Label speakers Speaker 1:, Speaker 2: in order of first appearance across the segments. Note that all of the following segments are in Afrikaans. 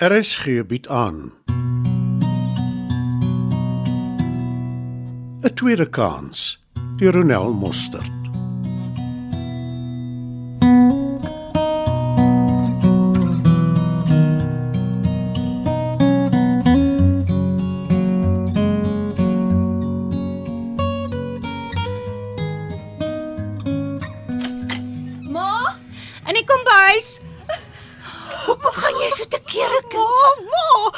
Speaker 1: RSG bied aan. 'n Tweede kans deur Ronel Mostert.
Speaker 2: Ma, in die kombuis. Hoekom gaan jy so te kere kind? Ma, ma.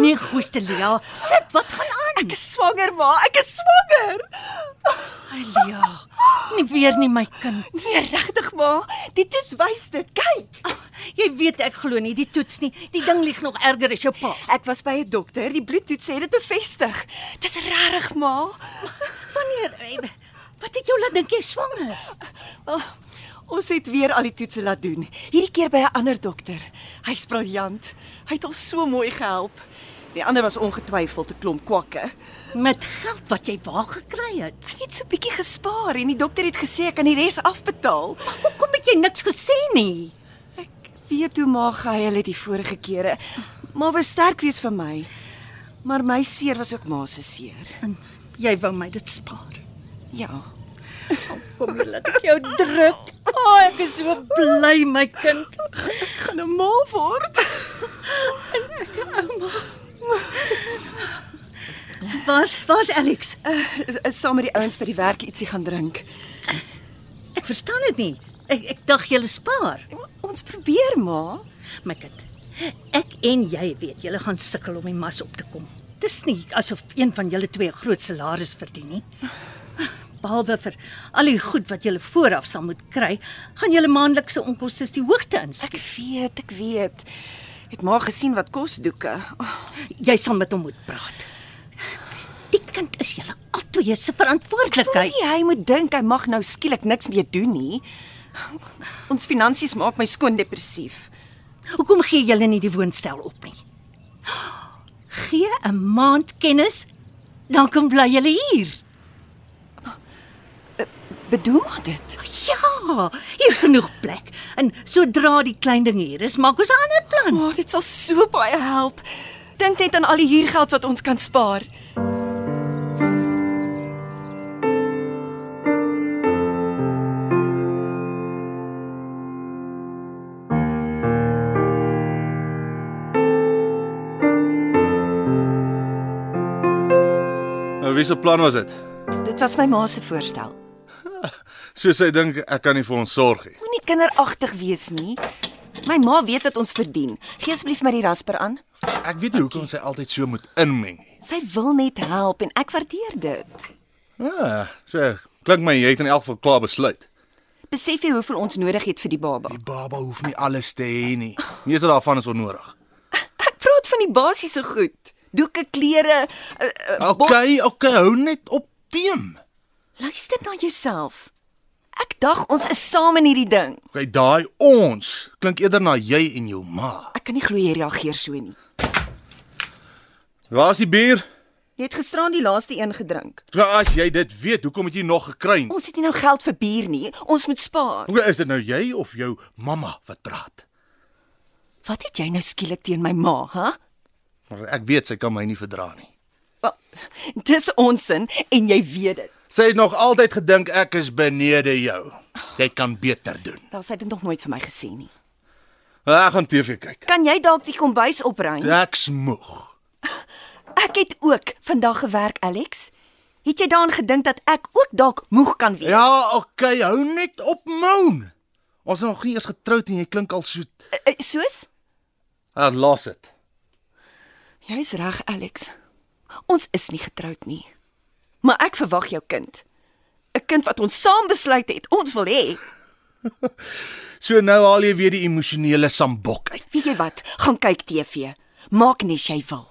Speaker 2: Nee, goeie Lea, sit, wat gaan aan?
Speaker 3: Ek is swanger, ma. Ek is swanger.
Speaker 2: Lea, eh, nie weer nie my kind.
Speaker 3: Nee, regtig, ma. Die toets wys dit. Kyk.
Speaker 2: Jy weet ek glo nie die toets nie. Die ding lieg nog erger as jou pa.
Speaker 3: Ek was by 'n dokter. Die bloedtoets het dit bevestig. Dis regtig, ma.
Speaker 2: Wanneer eh, wat het jou laat dink jy is swanger?
Speaker 3: Oh, ons het weer al die toetse laat doen. Hierdie keer by 'n ander dokter. Hy's briljant. Hy het ons so mooi gehelp. Die ander was ongetwyfeld 'n klomp kwakke.
Speaker 2: Met geld wat jy waar gekry het.
Speaker 3: Hy het so bietjie gespaar en die dokter het gesê ek kan die res afbetaal.
Speaker 2: Hoekom het jy niks gesê nie?
Speaker 3: Ek weet hoe ma gehuil het die vorige kere. Maar was sterk wees vir my. Maar my seer was ook ma se seer.
Speaker 2: En jy wou my dit spaar.
Speaker 3: Ja.
Speaker 2: Kom jy laat ek jou druk. O, oh, ek is so bly my kind.
Speaker 3: gaan 'n ma word.
Speaker 2: Waar's waar's Alex?
Speaker 3: Is is saam met die ouens by die werk ietsie gaan drink.
Speaker 2: Ek verstaan dit nie. Ek ek dink julle spaar,
Speaker 3: Ons probeer maar.
Speaker 2: my kind. Ek en jy weet julle gaan sukkel om die mas op te kom. Dis nie asof een van julle twee 'n groot salaris verdien nie. Behalwe vir al die goed wat julle vooraf sal moet kry, gaan julle maandelikse onkoste die hoogte ins.
Speaker 3: Ek weet, ek weet. Het maar gesien wat kos doeke. Oh,
Speaker 2: Jy sal met hom moet praat. Die kind is julle albei se verantwoordelikheid.
Speaker 3: Moenie nee, hy moet dink hy mag nou skielik niks meer doen nie. Ons finansies maak my skoon depressief.
Speaker 2: Hoekom gee julle nie die woonstel op nie? Gee 'n maand kennis, dan kom bly julle hier.
Speaker 3: Bedoel maar dit.
Speaker 2: Ja, hier's genoeg plek. En sodra die klein ding hier is, maak ons 'n ander plan.
Speaker 3: Maar oh, dit sal so baie help. Dink net aan al die huurgeld wat ons kan spaar.
Speaker 4: Nou wie se plan was dit?
Speaker 3: Dit was my ma se voorstel.
Speaker 4: Soos hy dink ek kan nie vir ons sorg nie.
Speaker 3: Moenie kinderagtig wees nie. My ma weet wat ons verdien. Gee asseblief my die rasper aan.
Speaker 4: Ek weet nie hoekom sy altyd so moet inmeng nie.
Speaker 3: Sy wil net help en ek waardeer dit.
Speaker 4: Ja, so klink my jy het in elk geval klaar besluit.
Speaker 3: Besef jy hoeveel ons nodig het vir die baba?
Speaker 4: Die baba hoef nie alles te hê nie. Meeste daarvan is onnodig.
Speaker 3: Ek praat van die basiese goed. Doeke, klere, uh, uh, bot-
Speaker 4: Okay, okay, hou net op teem.
Speaker 3: luister na jouself. Ek dag ons is saam in hierdie ding.
Speaker 4: Okay, daai ons klink eerder na jy en jou ma.
Speaker 3: Ek kan nie glo jy reageer so nie.
Speaker 4: Waar's die bier?
Speaker 3: Jy het gisteraan die laaste een gedrink.
Speaker 4: Ja, as jy dit weet, hoekom het jy nog gekry? nie?
Speaker 3: Ons het nie nou geld vir bier nie. Ons moet spaar.
Speaker 4: Hoe is dit nou jy of jou mamma wat praat?
Speaker 3: Wat het jy nou skielik teen my ma, hè?
Speaker 4: Maar ek weet sy kan my nie verdra nie.
Speaker 3: Wel, Dis onsin en jy weet dit.
Speaker 4: Sy het nog altyd gedink ek is benede jou. Jy kan beter doen.
Speaker 3: Wel, sy het dit nog nooit vir my gesê nie.
Speaker 4: Ek gaan TV kyk.
Speaker 3: Kan jy dalk die kombuis opruim?
Speaker 4: Ek's moeg.
Speaker 3: Ek het ook vandag gewerk, Alex. Het jy daaraan gedink dat ek ook dalk moeg kan wees?
Speaker 4: Ja, okay, hou net op moan. Ons is nog nie eens getroud en jy klink al so.
Speaker 3: Eh, eh, Soos?
Speaker 4: Ah, laat dit.
Speaker 3: Jy's reg, Alex. Ons is nie getroud nie. Maar ek verwag jou kind. 'n Kind wat ons saam besluit het ons wil hê.
Speaker 4: So nou haal jy weer die emosionele sambok uit.
Speaker 3: Weet jy wat? Gaan kyk TV. Maak nes jy wil.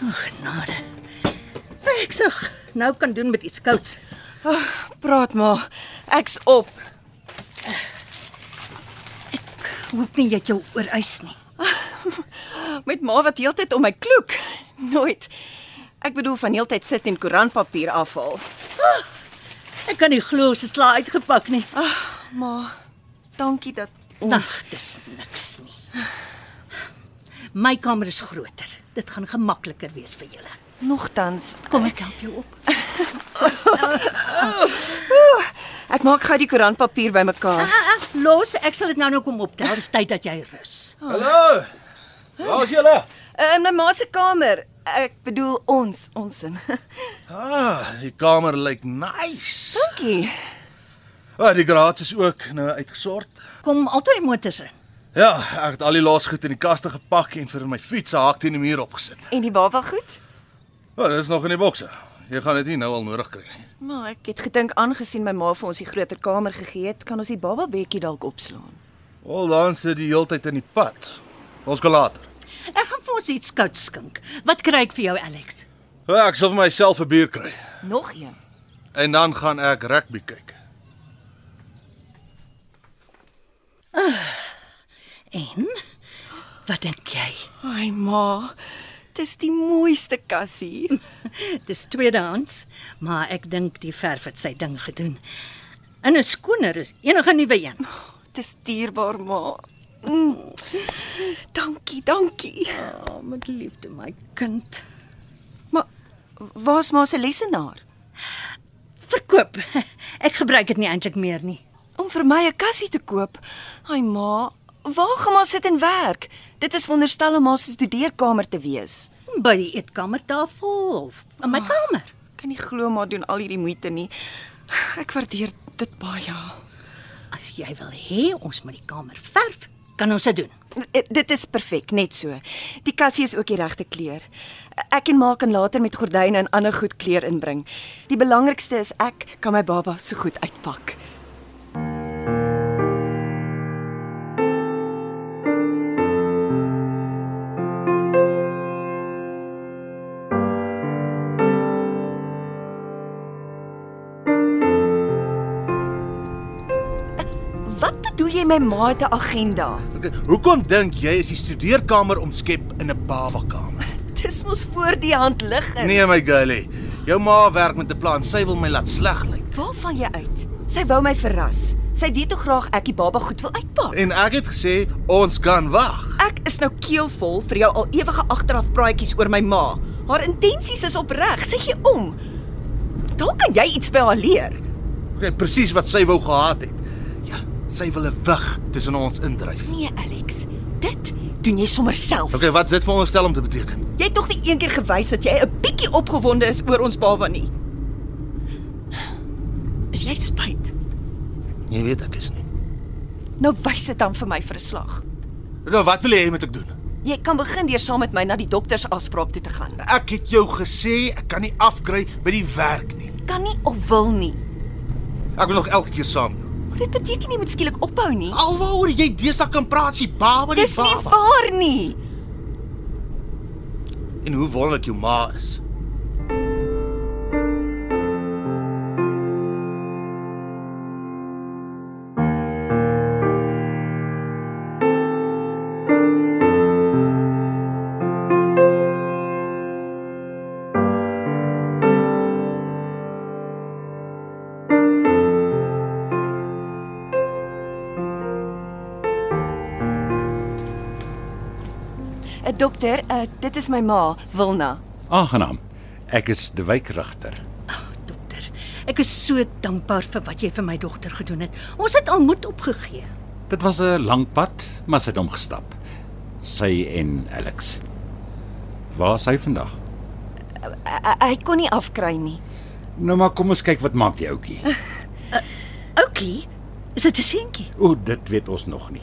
Speaker 2: Genade. Ek sê, nou kan doen met iets kouds.
Speaker 3: Praat maar. Ek's op.
Speaker 2: Hoop nie jy het jou oorwys nie.
Speaker 3: Met ma wat heeltyd om my kloek. Nooit. Ek bedoel van heeltyd sit en koerantpapier afhaal.
Speaker 2: Ek kan nie glo ons is klaar uitgepak nie.
Speaker 3: Ma, dankie dat
Speaker 2: Ag, dis niks nie. My kamer is groter. Dit gaan gemakliker wees vir julle.
Speaker 3: nogtans.
Speaker 2: Kom ek help jou op.
Speaker 3: Ek maak gou die koerantpapier bymekaar.
Speaker 2: Ah, ah, los, ek sal dit nou nou kom optel. Dis tyd dat jy rus.
Speaker 4: Hallo. Waar's julle?
Speaker 3: Eh, In my ma se kamer. Ek bedoel ons, ons in.
Speaker 4: Ah, die kamer lyk nice.
Speaker 3: Dankie.
Speaker 4: Ah, die graads is ook nou uitgesort.
Speaker 2: Kom altyd motors in.
Speaker 4: Ja, ek het al die laas goed in die kaste gepak en vir my fiets 'n haak teen die muur opgesit.
Speaker 3: En die baba goed?
Speaker 4: Wel, oh, dis nog in die bokse. Jy gaan dit nie nou al nodig kry nie.
Speaker 3: Maar ek het gedink aangesien my ma vir ons die groter kamer gegee het, kan ons die baba bedjie dalk opslaan.
Speaker 4: Al dan sit die heeltyd in die pad. Ons gaan later.
Speaker 2: Ek gaan vir ons iets koud skink. Wat kry ek vir jou, Alex?
Speaker 4: Ja, ek sal vir myself 'n bier kry
Speaker 3: Nog een.
Speaker 4: en dan gaan ek rugby kyk.
Speaker 2: En wat dink jy?
Speaker 3: Ai ma, dis die mooiste kassie.
Speaker 2: Dis tweedehands, maar ek dink die verf het sy ding gedoen. En 'n skoner is enige nuwe een.
Speaker 3: Dis dierbaar ma. Mm. Dankie, dankie.
Speaker 2: Oh, met liefde my kind.
Speaker 3: Maar waar's ma se lesenaar?
Speaker 2: Verkoop. Ek gebruik dit nie eintlik meer nie.
Speaker 3: Om vir my 'n kassie te koop. Ai ma, waar gaan ma sit en werk? Dit is wonderstel om ma se studeerkamer te wees.
Speaker 2: By die eetkamertafel of in my kamer.
Speaker 3: Ek Kan nie glo ma doen al hierdie moeite nie. Ek waardeer dit baie.
Speaker 2: As jy wil hê ons moet die kamer verf, kan ons dit doen.
Speaker 3: Eh, Dit is perfek, net so. Die kassie is ook die regte kleur. Ek en ma kan later met gordyne en ander goed kleur inbring. Die belangrikste is ek kan my baba so goed uitpak. Eh, Wat bedoel jy my ma het 'n agenda?
Speaker 4: Okay, hoekom dink jy is die studeerkamer omskep in 'n babakamer?
Speaker 3: Dis mos voor die hand lig. in.
Speaker 4: Nee my girlie, jou ma werk met 'n plan. Sy wil my laat sleg lyk.
Speaker 3: Waar val jy uit? Sy wou my verras. Sy weet hoe graag ek die baba goed wil uitpak.
Speaker 4: En ek het gesê ons kan wag.
Speaker 3: Ek is nou keelvol vir jou al ewige agteraf praatjies oor my ma. Haar intensies is opreg. Sy gee om. Dalk kan jy iets by haar leer.
Speaker 4: Okay, presies wat sy wou gehad het. Ja, sy wil 'n wig tussen ons indryf.
Speaker 3: Nee, Alex. Dit doen jy sommer self.
Speaker 4: Okay, wat is dit veronderstel om te beteken?
Speaker 3: Jy het tog nie eendag gewys dat jy 'n bietjie opgewonde is oor ons baba nie. Is jy spyt?
Speaker 4: Jy weet ek is nie.
Speaker 3: Nou wys dit dan vir my vir 'n slag.
Speaker 4: Nou wat wil jy hê moet ek doen?
Speaker 3: Jy kan begin deur saam met my na die doktersafspraak toe te gaan.
Speaker 4: Ek het jou gesê ek kan nie afkry by die werk nie.
Speaker 3: Kan nie of wil nie.
Speaker 4: Ek wil nog elke keer saam.
Speaker 3: Maar Dit beteken nie moet skielik ophou nie.
Speaker 4: Alwaaroor jy deesdae kan praat, sy baba die
Speaker 3: Dis
Speaker 4: baba.
Speaker 3: nie waar nie.
Speaker 4: en hoe wonderlik jou ma is.
Speaker 3: Uh, dokter, uh, dit is my ma, Wilna.
Speaker 5: Aangenaam. Ek is die wijkrigter.
Speaker 2: Dokter, ek is so dankbaar vir wat jy vir my dogter gedoen het. Ons het al moed opgegee.
Speaker 5: Dit was 'n lang pad, maar sy het hom gestap. Sy en Alex. Waar is hy vandag?
Speaker 3: Uh, hy kon nie afkry nie.
Speaker 5: Nou maar kom ons kyk wat maak die ouetjie.
Speaker 2: Oukie, is dit 'n seentjie?
Speaker 5: O, dit weet ons nog nie.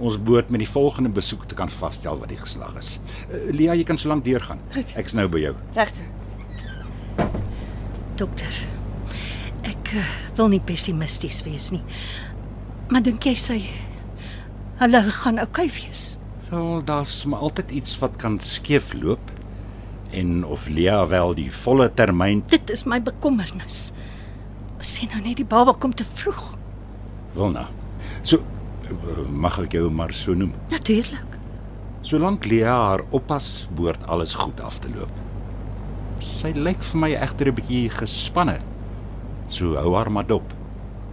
Speaker 5: Ons behoort met die volgende besoek te kan vasstel wat die geslag is. Eh, Lia, jy kan so lank deurgaan. Ek's nou by jou.
Speaker 3: Regter.
Speaker 2: Dokter. Ek eh, wil nie pessimisties wees nie. Maar dink jy sy hulle gaan oukei wees?
Speaker 5: Wel, daar's maar altyd iets wat kan skeefloop en of Lia wel die volle termyn
Speaker 2: Dit is my bekommernis. Sien nou net die baba kom te vroeg.
Speaker 5: wil na. So eh, mag ek jou maar so noem.
Speaker 2: Natuurlik.
Speaker 5: Solank Lea haar oppas, behoort alles goed af te loop. Sy lyk vir my egter 'n bietjie gespanne. So hou haar maar dop.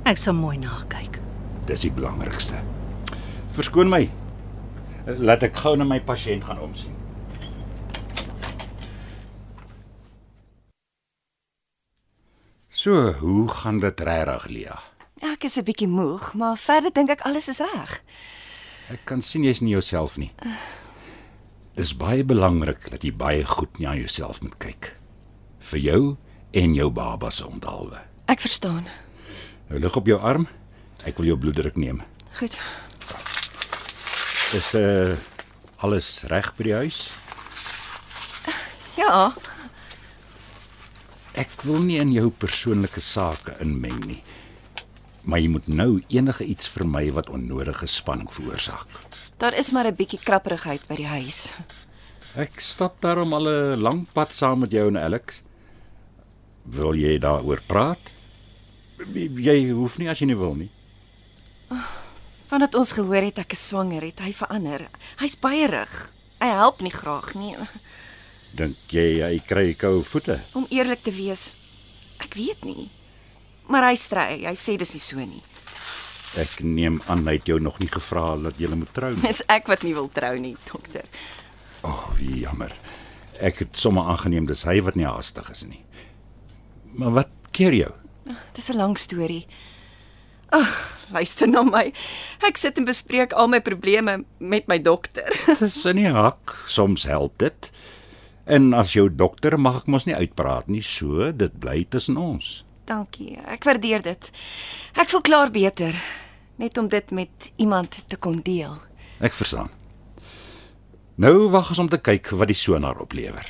Speaker 2: Ek sal mooi na kyk.
Speaker 5: Dis die belangrikste. Verskoon my. Laat ek gou na my pasiënt gaan omsien. So, hoe gaan dit regtig, Lea?
Speaker 3: Ek is 'n bietjie moeg, maar verder dink ek alles is reg.
Speaker 5: Ek kan sien jy's nie jouself nie. Dis baie belangrik dat jy baie goed na jouself moet kyk. Vir jou en jou baba se onderhalwe.
Speaker 3: Ek verstaan.
Speaker 5: Nou lig op jou arm. Ek wil jou bloeddruk neem.
Speaker 3: Goed.
Speaker 5: Is uh alles reg by die huis?
Speaker 3: Ja,
Speaker 5: Ek wil nie in jou persoonlike sake inmeng nie. Maar jy moet nou enige iets vermy wat onnodige spanning veroorsaak.
Speaker 3: daar is maar 'n bietjie krapperigheid by die huis.
Speaker 5: Ek stap daarom al 'n lang pad saam met jou en Alex. Wil jy daaroor praat? Jy hoef nie as jy nie wil nie.
Speaker 3: Vandat ons gehoor het ek is swanger, het hy verander. Hy's baie rig. Hy help nie graag nie.
Speaker 5: Dink jy hy kry koue voete?
Speaker 3: Om eerlik te wees, ek weet nie. Maar hy stry. Hy sê dis nie so nie.
Speaker 5: Ek neem aan hy het jou nog nie gevra dat jy moet trou nie.
Speaker 3: Dis ek wat nie wil trou nie, dokter.
Speaker 5: O, oh, jammer. Ek het sommer aangeneem dis hy wat nie haastig is nie. Maar wat keer jou?
Speaker 3: Dis 'n lang storie. Ag, luister na my. Ek sit en bespreek al my probleme met my dokter.
Speaker 5: Dis in die hak, soms help dit. En as jou dokter mag ek mos nie uitpraat nie, so dit bly tussen ons.
Speaker 3: Dankie. Ek waardeer dit. Ek voel klaar beter net om dit met iemand te kon deel.
Speaker 5: Ek verstaan. Nou wag ons om te kyk wat die sonar oplewer.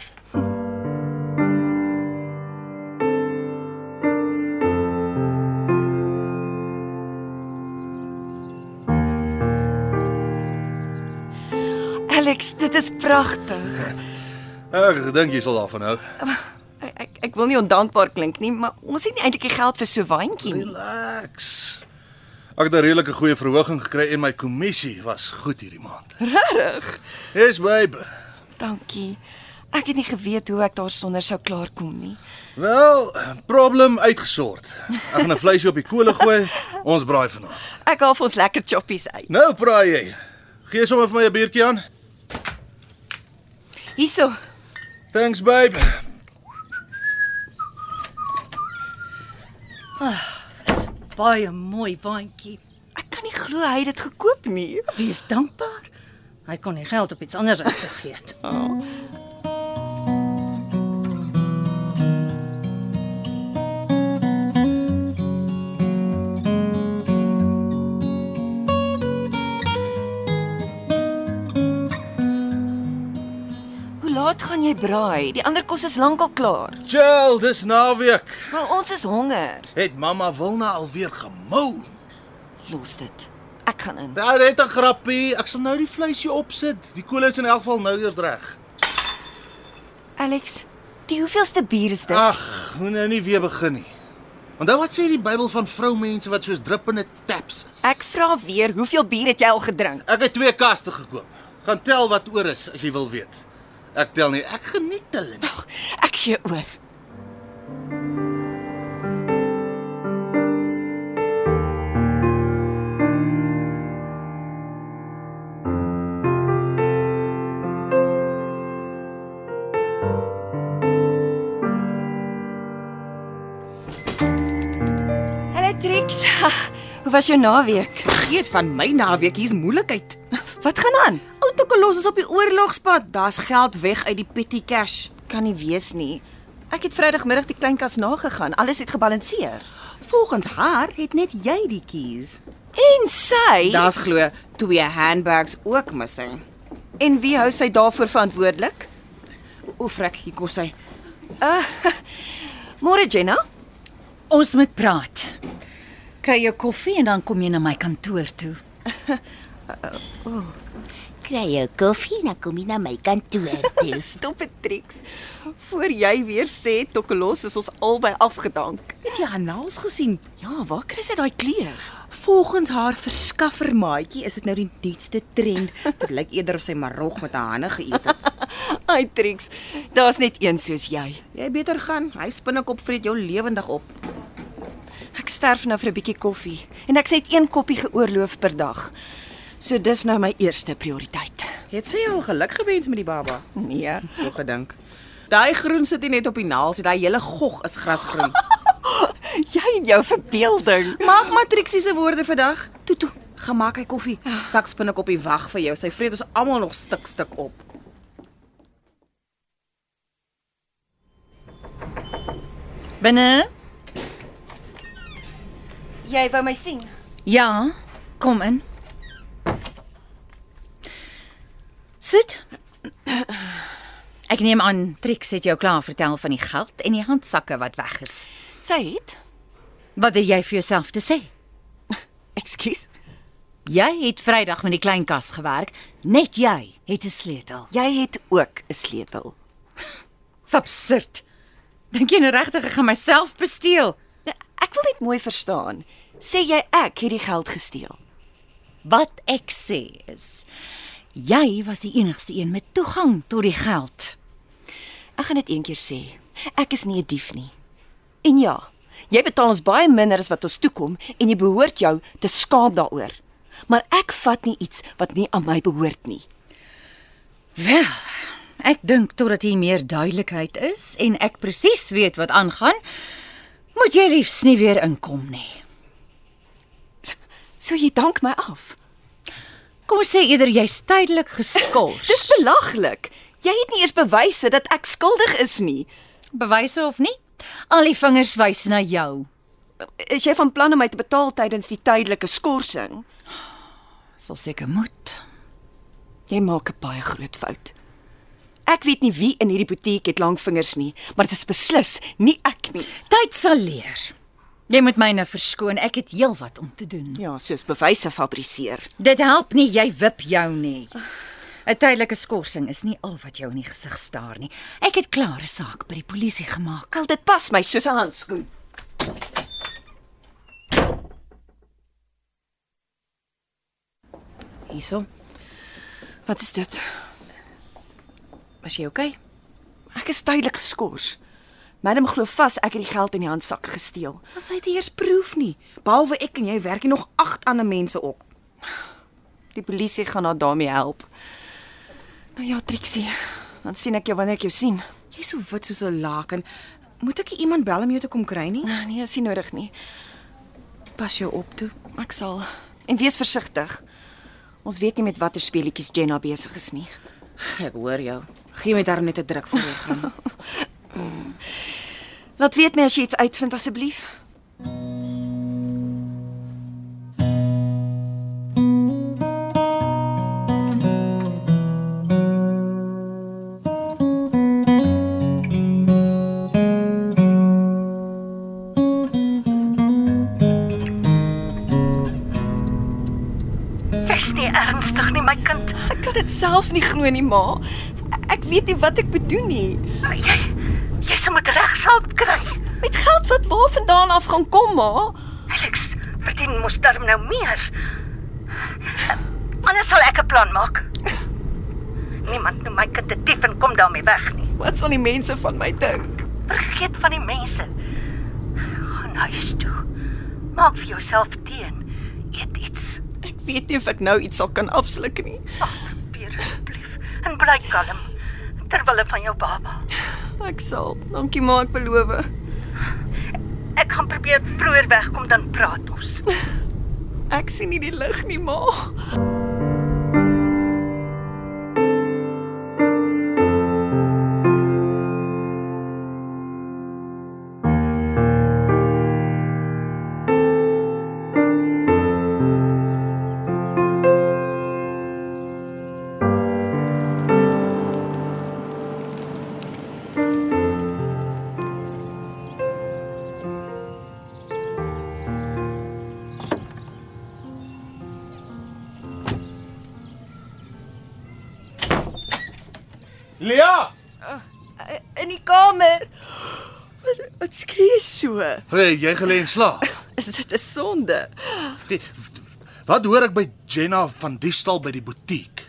Speaker 3: Alex, dit is pragtig.
Speaker 4: Ek dink jy sal daarvan hou.
Speaker 3: Ek, ek ek wil nie ondankbaar klink nie, maar ons het nie eintlik die geld vir so wandjie nie.
Speaker 4: Relax. Ek het 'n redelike goeie verhoging gekry en my kommissie was goed hierdie maand.
Speaker 3: Regtig?
Speaker 4: Yes, babe.
Speaker 3: Dankie. Ek het nie geweet hoe ek daarsonder sou klaarkom nie.
Speaker 4: Wel, probleem uitgesort. Ek gaan 'n vleisie op die kolle gooi. Ons braai vanaand.
Speaker 3: Ek haal vir ons lekker choppies uit.
Speaker 4: Nou braai jy. Gee sommer vir my 'n biertjie aan.
Speaker 3: Hierso.
Speaker 4: Thanks, babe.
Speaker 2: Dis baie mooi waantjie.
Speaker 3: Ek kan nie glo hy het dit gekoop nie.
Speaker 2: Wees dankbaar. Hy kon nie geld op iets anders uitgegee het.
Speaker 3: Hoe laat gaan jy braai? Die ander kos is lankal klaar.
Speaker 4: Chill, dis naweek.
Speaker 3: Maar ons is honger.
Speaker 4: Het mamma Wilna alweer gemou.
Speaker 3: Los dit. Ek gaan in.
Speaker 4: Daar het 'n grappie. Ek sal nou die vleisie opsit. Die kolle is in elk geval nou eers reg.
Speaker 3: Alex, die hoeveelste bier is dit?
Speaker 4: Ag, moet nou nie weer begin nie. Onthou wat sê die Bybel van vroumense wat soos druppende taps is.
Speaker 3: Ek vra weer, hoeveel bier het jy al gedrink?
Speaker 4: Ek het twee kaste gekoop. Gaan tel wat oor is as jy wil weet. Ek tel nie. Ek geniet hulle nie.
Speaker 3: Ag, ek gee oor. Hallo Trix. Ha, Hoe was jou naweek?
Speaker 6: Geet van my naweek, hier's moeilikheid.
Speaker 3: Wat gaan aan?
Speaker 6: Autokolos is op die oorlogspad. Daar's geld weg uit die petty cash.
Speaker 3: Kan nie wees nie. Ek het Vrydagmiddag die klein kas nagegaan. Alles het gebalanseer.
Speaker 6: Volgens haar het net jy die keys.
Speaker 3: En sy?
Speaker 6: Daar's glo twee handbags ook missing.
Speaker 3: En wie hou sy daarvoor verantwoordelik?
Speaker 6: Oefrek, hier kos hy.
Speaker 3: Môre Jenna.
Speaker 7: Ons moet praat. Kry jou koffie en dan kom jy na my kantoor toe.
Speaker 8: Kry jou koffie en dan kom jy na my kantoor toe.
Speaker 3: Stop dit, Trix. Voor jy weer sê Tokkelos is ons albei afgedank.
Speaker 6: Het jy haar naels gesien?
Speaker 3: Ja, waar kry sy daai kleur?
Speaker 9: Volgens haar verskaffermaatjie is dit nou die nuutste trend. Dit lyk eerder of sy marog met haar hande geëet het.
Speaker 3: Ai Trix, daar's net een soos jy.
Speaker 9: Jy beter gaan. Hy spinnekop vreet jou lewendig op.
Speaker 3: Ek sterf nou vir 'n bietjie koffie en ek sê dit een koppie geoorloof per dag. So dis nou my eerste prioriteit.
Speaker 9: Het sy jou al geluk gewens met die baba?
Speaker 3: Nee.
Speaker 9: So gedink. Daai groen sit nie net op die naels, daai hele gog is grasgroen.
Speaker 3: Jy en jou verbeelding.
Speaker 9: Maak matriksie se woorde vandag. Toe toe, gaan maak hy koffie. Saks binne op die wag vir jou. Sy vreet ons almal nog stuk stuk op.
Speaker 7: Binne?
Speaker 3: Jy wou my sien.
Speaker 7: Ja, kom in. Sit. Ek neem aan Trix het jou klaar vertel van die geld en die handsakke wat weg is.
Speaker 3: Sy het.
Speaker 7: Wat het jy vir jouself te sê?
Speaker 3: Ekskuus.
Speaker 7: Jy het Vrydag met die klein kas gewerk, net jy het 'n sleutel.
Speaker 3: Jy het ook 'n sleutel.
Speaker 7: Dis absurd. Dink jy nou regtig ek gaan myself besteel?
Speaker 3: Nou, Ek wil net mooi verstaan. Sê jy ek het die geld gesteel?
Speaker 7: Wat ek sê is jy was die enigste een met toegang tot die geld.
Speaker 3: Ek gaan dit een keer sê. Ek is nie 'n dief nie. En ja, jy betaal ons baie minder as wat ons toekom en jy behoort jou te skaam daaroor. Maar ek vat nie iets wat nie aan my behoort nie.
Speaker 7: Wel, ek dink totdat hier meer duidelikheid is en ek presies weet wat aangaan, moet jy liefs nie weer inkom nie.
Speaker 3: So jy dank my af.
Speaker 7: Kom ons sê eerder jy's tydelik geskort.
Speaker 3: Dis belaglik. Jy het nie eers bewyse dat ek skuldig is nie.
Speaker 7: bewyse of nie? Al die vingers wys na jou.
Speaker 3: Is jy van plan om my te betaal tydens die tydelike skorsing?
Speaker 7: Sal seker moet.
Speaker 3: Jy maak 'n baie groot fout. Ek weet nie wie in hierdie butiek het lang vingers nie, maar dit is beslis nie ek nie.
Speaker 7: Tyd sal leer. Jy moet my nou verskoon, ek het heelwat om te doen.
Speaker 3: Ja, soos bewyse fabriseer.
Speaker 7: Dit help nie jy wip jou nie. 'n Tydelike skorsing is nie al wat jou in die gesig staar nie. Ek het klare saak by die polisie gemaak.
Speaker 3: Al dit pas my soos 'n handskoen.
Speaker 9: Hierso.
Speaker 3: Wat is dit?
Speaker 9: Was jy okay?
Speaker 3: Ek is tydelik geskort. Madam glo vas ek het die geld in die handsak gesteel.
Speaker 9: Ons het eers proef nie. Behalwe ek en jy werk hier nog 8 ander mense ook.
Speaker 3: Die polisie gaan haar daarmee help. Nou ja, Trixie, dan sien ek jou wanneer ek jou sien.
Speaker 9: Jy's so wit soos 'n laken. Moet ek nie iemand bel om jou te kom kry nie?
Speaker 3: Nee, is nie nodig nie.
Speaker 9: Pas jou op toe.
Speaker 3: Ek sal. En wees versigtig. Ons weet nie met watter speletjies Jenna besig is nie.
Speaker 9: Ek hoor jou. Gee my daar net 'n druk voor jy gaan.
Speaker 3: Laat weet my as jy iets uitvind asseblief.
Speaker 2: Jy's nie ernstig nie, my kind.
Speaker 3: Ek kan dit self nie glo nie, ma. Ek weet nie wat ek bedoen nie.
Speaker 2: Jy jy sal moet regshulp kry.
Speaker 3: Met geld wat waar vandaan af gaan kom, ma?
Speaker 2: Alex, verdien mos darm nou meer. Anders sal ek 'n plan maak. Niemand noem my kind 'n dief en kom daarmee weg nie.
Speaker 3: Wat sal die mense van my dink?
Speaker 2: Vergeet van die mense. Gaan huis toe. Maak vir jouself tee en eet iets.
Speaker 3: Ek weet nie of ek nou iets sal kan afsluk nie.
Speaker 2: Ag, probeer asseblief en bly kalm terwyl van jou baba.
Speaker 3: Ek sal. Dankie, ma, ek beloof.
Speaker 2: Ek gaan probeer vroeër wegkom dan praat ons.
Speaker 3: Ek sien nie die lig nie, ma.
Speaker 4: Lia,
Speaker 3: In die kamer. Wat, wat skree jy so?
Speaker 4: hey, jy gelê en slaap.
Speaker 3: Is dit 'n sonde?
Speaker 4: Wie- Wat hoor ek by Jenna van die stal by die butiek?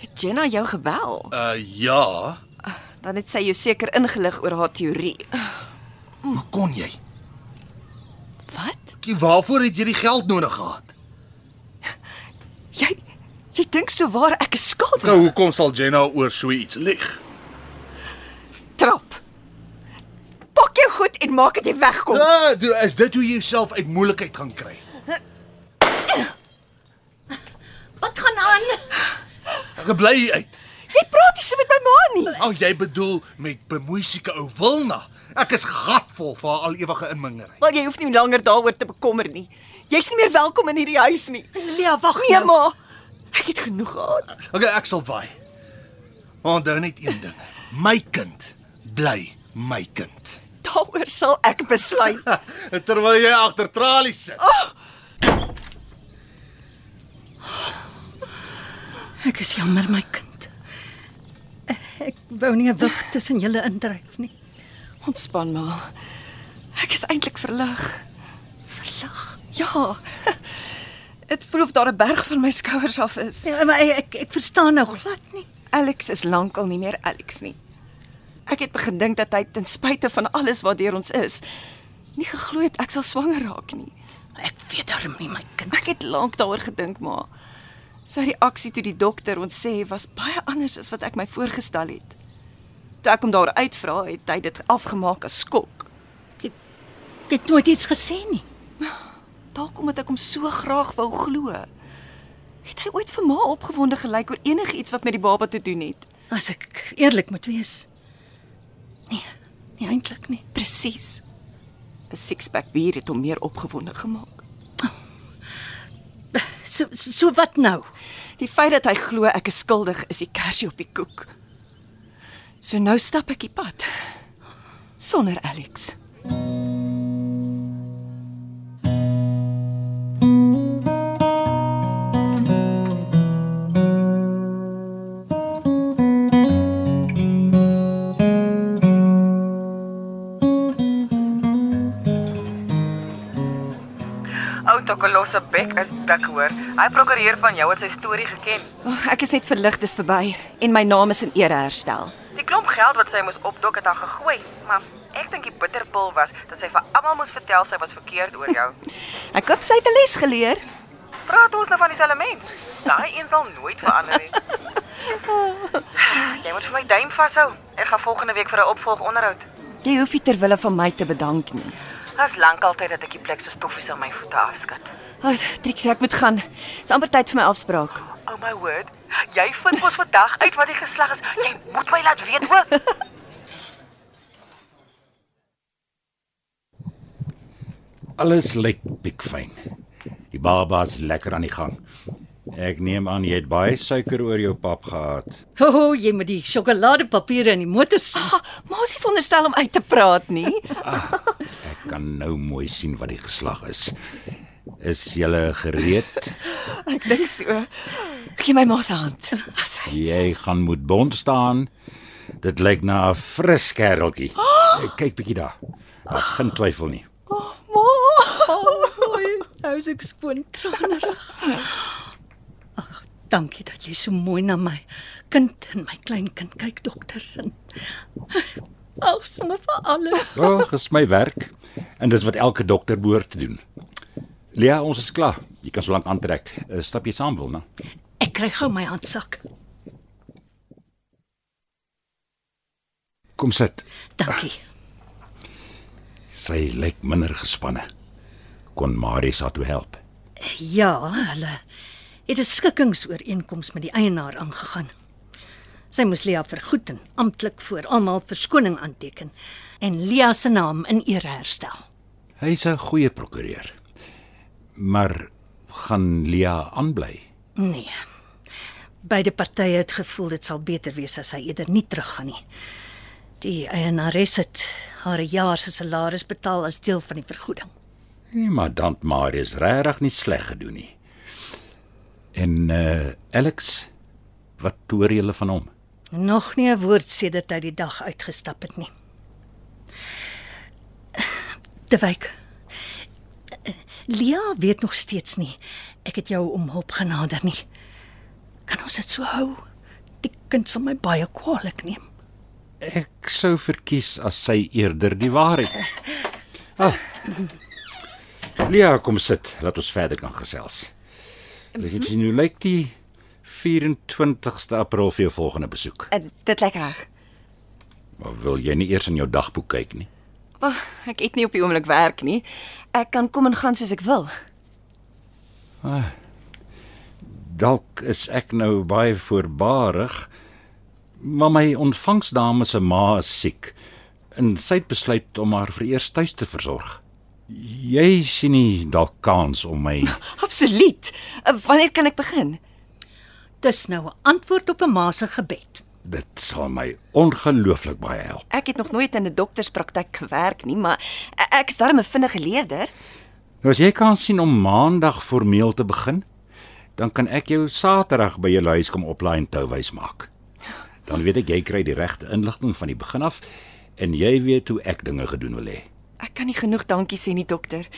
Speaker 3: Het Jenna jou gebel?
Speaker 4: Uh ja.
Speaker 3: Dan het sy jou seker ingelig oor haar teorie.
Speaker 4: Hoe kon jy?
Speaker 3: Wat?
Speaker 4: Kie, Waarvoor het jy die geld nodig gehad?
Speaker 3: Jy jy dink so waar ek is skuldig.
Speaker 4: Nou hoekom sal Jenna oor so iets lieg?
Speaker 3: Trap. Pak jou goed en maak dat jy wegkom.
Speaker 4: Ja, do- is dit hoe jy jouself uit moeilikheid gaan kry?
Speaker 2: Wat gaan aan?
Speaker 4: Ek bly uit.
Speaker 3: Jy praat nie so met my ma nie.
Speaker 4: Al jy bedoel met bemoeisieke ou Wilna. Ek is gatvol vir haar al ewige inmingery.
Speaker 3: Wel jy hoef nie langer daaroor te bekommer nie. Jy's nie meer welkom in hierdie huis nie.
Speaker 2: Lia, wag nou.
Speaker 3: Nee ma. Ek het genoeg gehad.
Speaker 4: Okay, ek sal waai. Maar Onthou net een ding. My kind bly my kind.
Speaker 3: Daaroor sal ek besluit.
Speaker 4: Terwyl jy agter tralies sit.
Speaker 2: Ek is jammer my kind. Eh, Ek wou nie 'n wig tussen julle indryf nie.
Speaker 3: Ontspan maar. Ek is eintlik verlig. Verlig. Ja. Dit voel of daar 'n berg van my skouers af is.
Speaker 2: Ja, maar ek ek verstaan nou glad nie.
Speaker 3: Alex is lankal nie meer Alex nie. Ek het begin dink dat hy ten spyte van alles wat deur ons is, nie geglo het ek sal swanger raak nie.
Speaker 2: Ek weet darm nie my kind.
Speaker 3: Ek het lank daaroor gedink, maar sy reaksie toe die dokter ons sê was baie anders as wat ek my voorgestel het. Toe ek hom daar uitvra, het hy dit afgemaak as skok.
Speaker 2: Jy het nooit iets gesê nie.
Speaker 3: Dalk omdat ek hom so graag wou glo. Het hy ooit vir ma opgewonde gelyk oor enigiets wat met die baba te doen het?
Speaker 2: As ek eerlik moet wees. Nee, nie eintlik nie.
Speaker 3: Presies. 'n Sixpack bier het hom meer opgewonde gemaak.
Speaker 2: So so, so wat nou?
Speaker 3: Die feit dat hy glo ek is skuldig is die kersie op die koek. So nou stap ek die pad sonder Alex.
Speaker 9: Ou Tokolos se bek is dik hoor. Hy prokureur van jou het sy storie geken.
Speaker 3: Ag, ek is net verlig dis verby en my naam is in ere herstel.
Speaker 9: Die klomp geld wat sy moes opdok het haar gegooi, maar ek dink die bitterpil was dat sy vir almal moes vertel sy was verkeerd oor jou.
Speaker 3: Ek hoop sy het 'n les geleer.
Speaker 9: Praat ons nou van dieselfde mens. Daai een sal nooit verander nie. Jy moet vir my duim vashou. Ek gaan volgende week vir 'n opvolgonderhoud.
Speaker 3: Jy hoef nie ter wille van my te bedank nie.
Speaker 9: Dit's lank altyd dat ek die plek se stoffies aan my voete afskud.
Speaker 3: Ag, Trixie, ek moet gaan. Dis amper tyd vir my afspraak.
Speaker 9: Oh my word. Jy vind mos vandag uit wat die geslag is. Jy moet my laat weet hoor.
Speaker 5: Alles lyk piekfyn. Die baba's lekker aan die gang. Ek neem aan jy het baie suiker oor jou pap gehad.
Speaker 2: Ho, oh, jy moet die sjokoladepapiere in die motor sien.
Speaker 3: Ah, maar as jy veronderstel om uit te praat nie.
Speaker 5: Ek kan nou mooi sien wat die geslag is. Is julle gereed?
Speaker 3: Ek dink so. Gee my ma se hand. As hy
Speaker 5: Jy gaan moet bond staan. Dit lyk na 'n fris kereltjie. Kyk bietjie daar. Daar's geen twyfel nie.
Speaker 3: ma.
Speaker 2: Oh. Oei, nou is ek skoon tranerig. Ag, dankie dat jy so mooi na my kind en my kleinkind kyk, dokter. En ag, sommer vir alles.
Speaker 5: Ag, Ja, dis my werk en dis wat elke dokter behoort te doen. Lea, ons is klaar. Jy kan so lank aantrek. Eh, Stap jy saam wil, né?
Speaker 2: Ek kry gou my handsak.
Speaker 5: Kom sit.
Speaker 2: Dankie.
Speaker 5: Sy lyk minder gespanne. Kon Marius haar toe help.
Speaker 2: Ja, hulle het 'n skikkingsooreenkoms met die eienaar aangegaan. Sy moes Lia vergoed en amptelik voor almal verskoning aanteken en Lia se naam in ere herstel.
Speaker 5: Hy's 'n goeie prokureur. Maar gaan Lea aanbly?
Speaker 2: Nee. Beide partye het gevoel dit sal beter wees as hy eerder nie teruggaan nie. Die eienares het haar 'n jaar se salaris betaal as deel van die vergoeding.
Speaker 5: Nee, maar dan Marius regtig nie sleg gedoen nie. En eh uh, Alex, wat hoor jy van hom?
Speaker 2: Nog nie 'n woord sedert hy die dag uitgestap het nie. De Wyk. Lia weet nog steeds nie Ek het jou om hulp genader nie. Kan ons dit so hou? Die kind sal my baie kwaadlik neem.
Speaker 5: Ek sou verkies as sy eerder die waarheid. Ah. Lia, kom sit, laat ons verder kan gesels. Ek het sien hoe lyk die 24ste April vir jou volgende besoek.
Speaker 3: Uh, dit lyk reg.
Speaker 5: Maar wil jy nie eers in jou dagboek kyk nie?
Speaker 3: Wag, ek het nie op die oomblik werk nie. Ek kan kom en gaan soos ek wil.
Speaker 5: Dalk is ek nou baie voorbarig, maar my ontvangsdame se ma is siek en sy het besluit om haar vir eers tuis te versorg. Jy sien nie dalk kans om my
Speaker 3: Absoluut. Uh, wanneer kan ek begin?
Speaker 2: Dis nou 'n antwoord op 'n ma se gebed.
Speaker 5: dit sal my ongelooflik baie help.
Speaker 3: Ek het nog nooit in 'n dokterspraktyk gewerk nie, maar e- ek is darem 'n vinnige leerder.
Speaker 5: Nou as jy kan sien om maandag formeel te begin, dan kan ek jou Saterdag by jou huis kom oplaai en touwys maak. Dan weet ek jy kry die regte inligting van die begin af en jy weet hoe ek dinge gedoen wil hê.
Speaker 3: Ek kan nie genoeg dankie sê nie, dokter.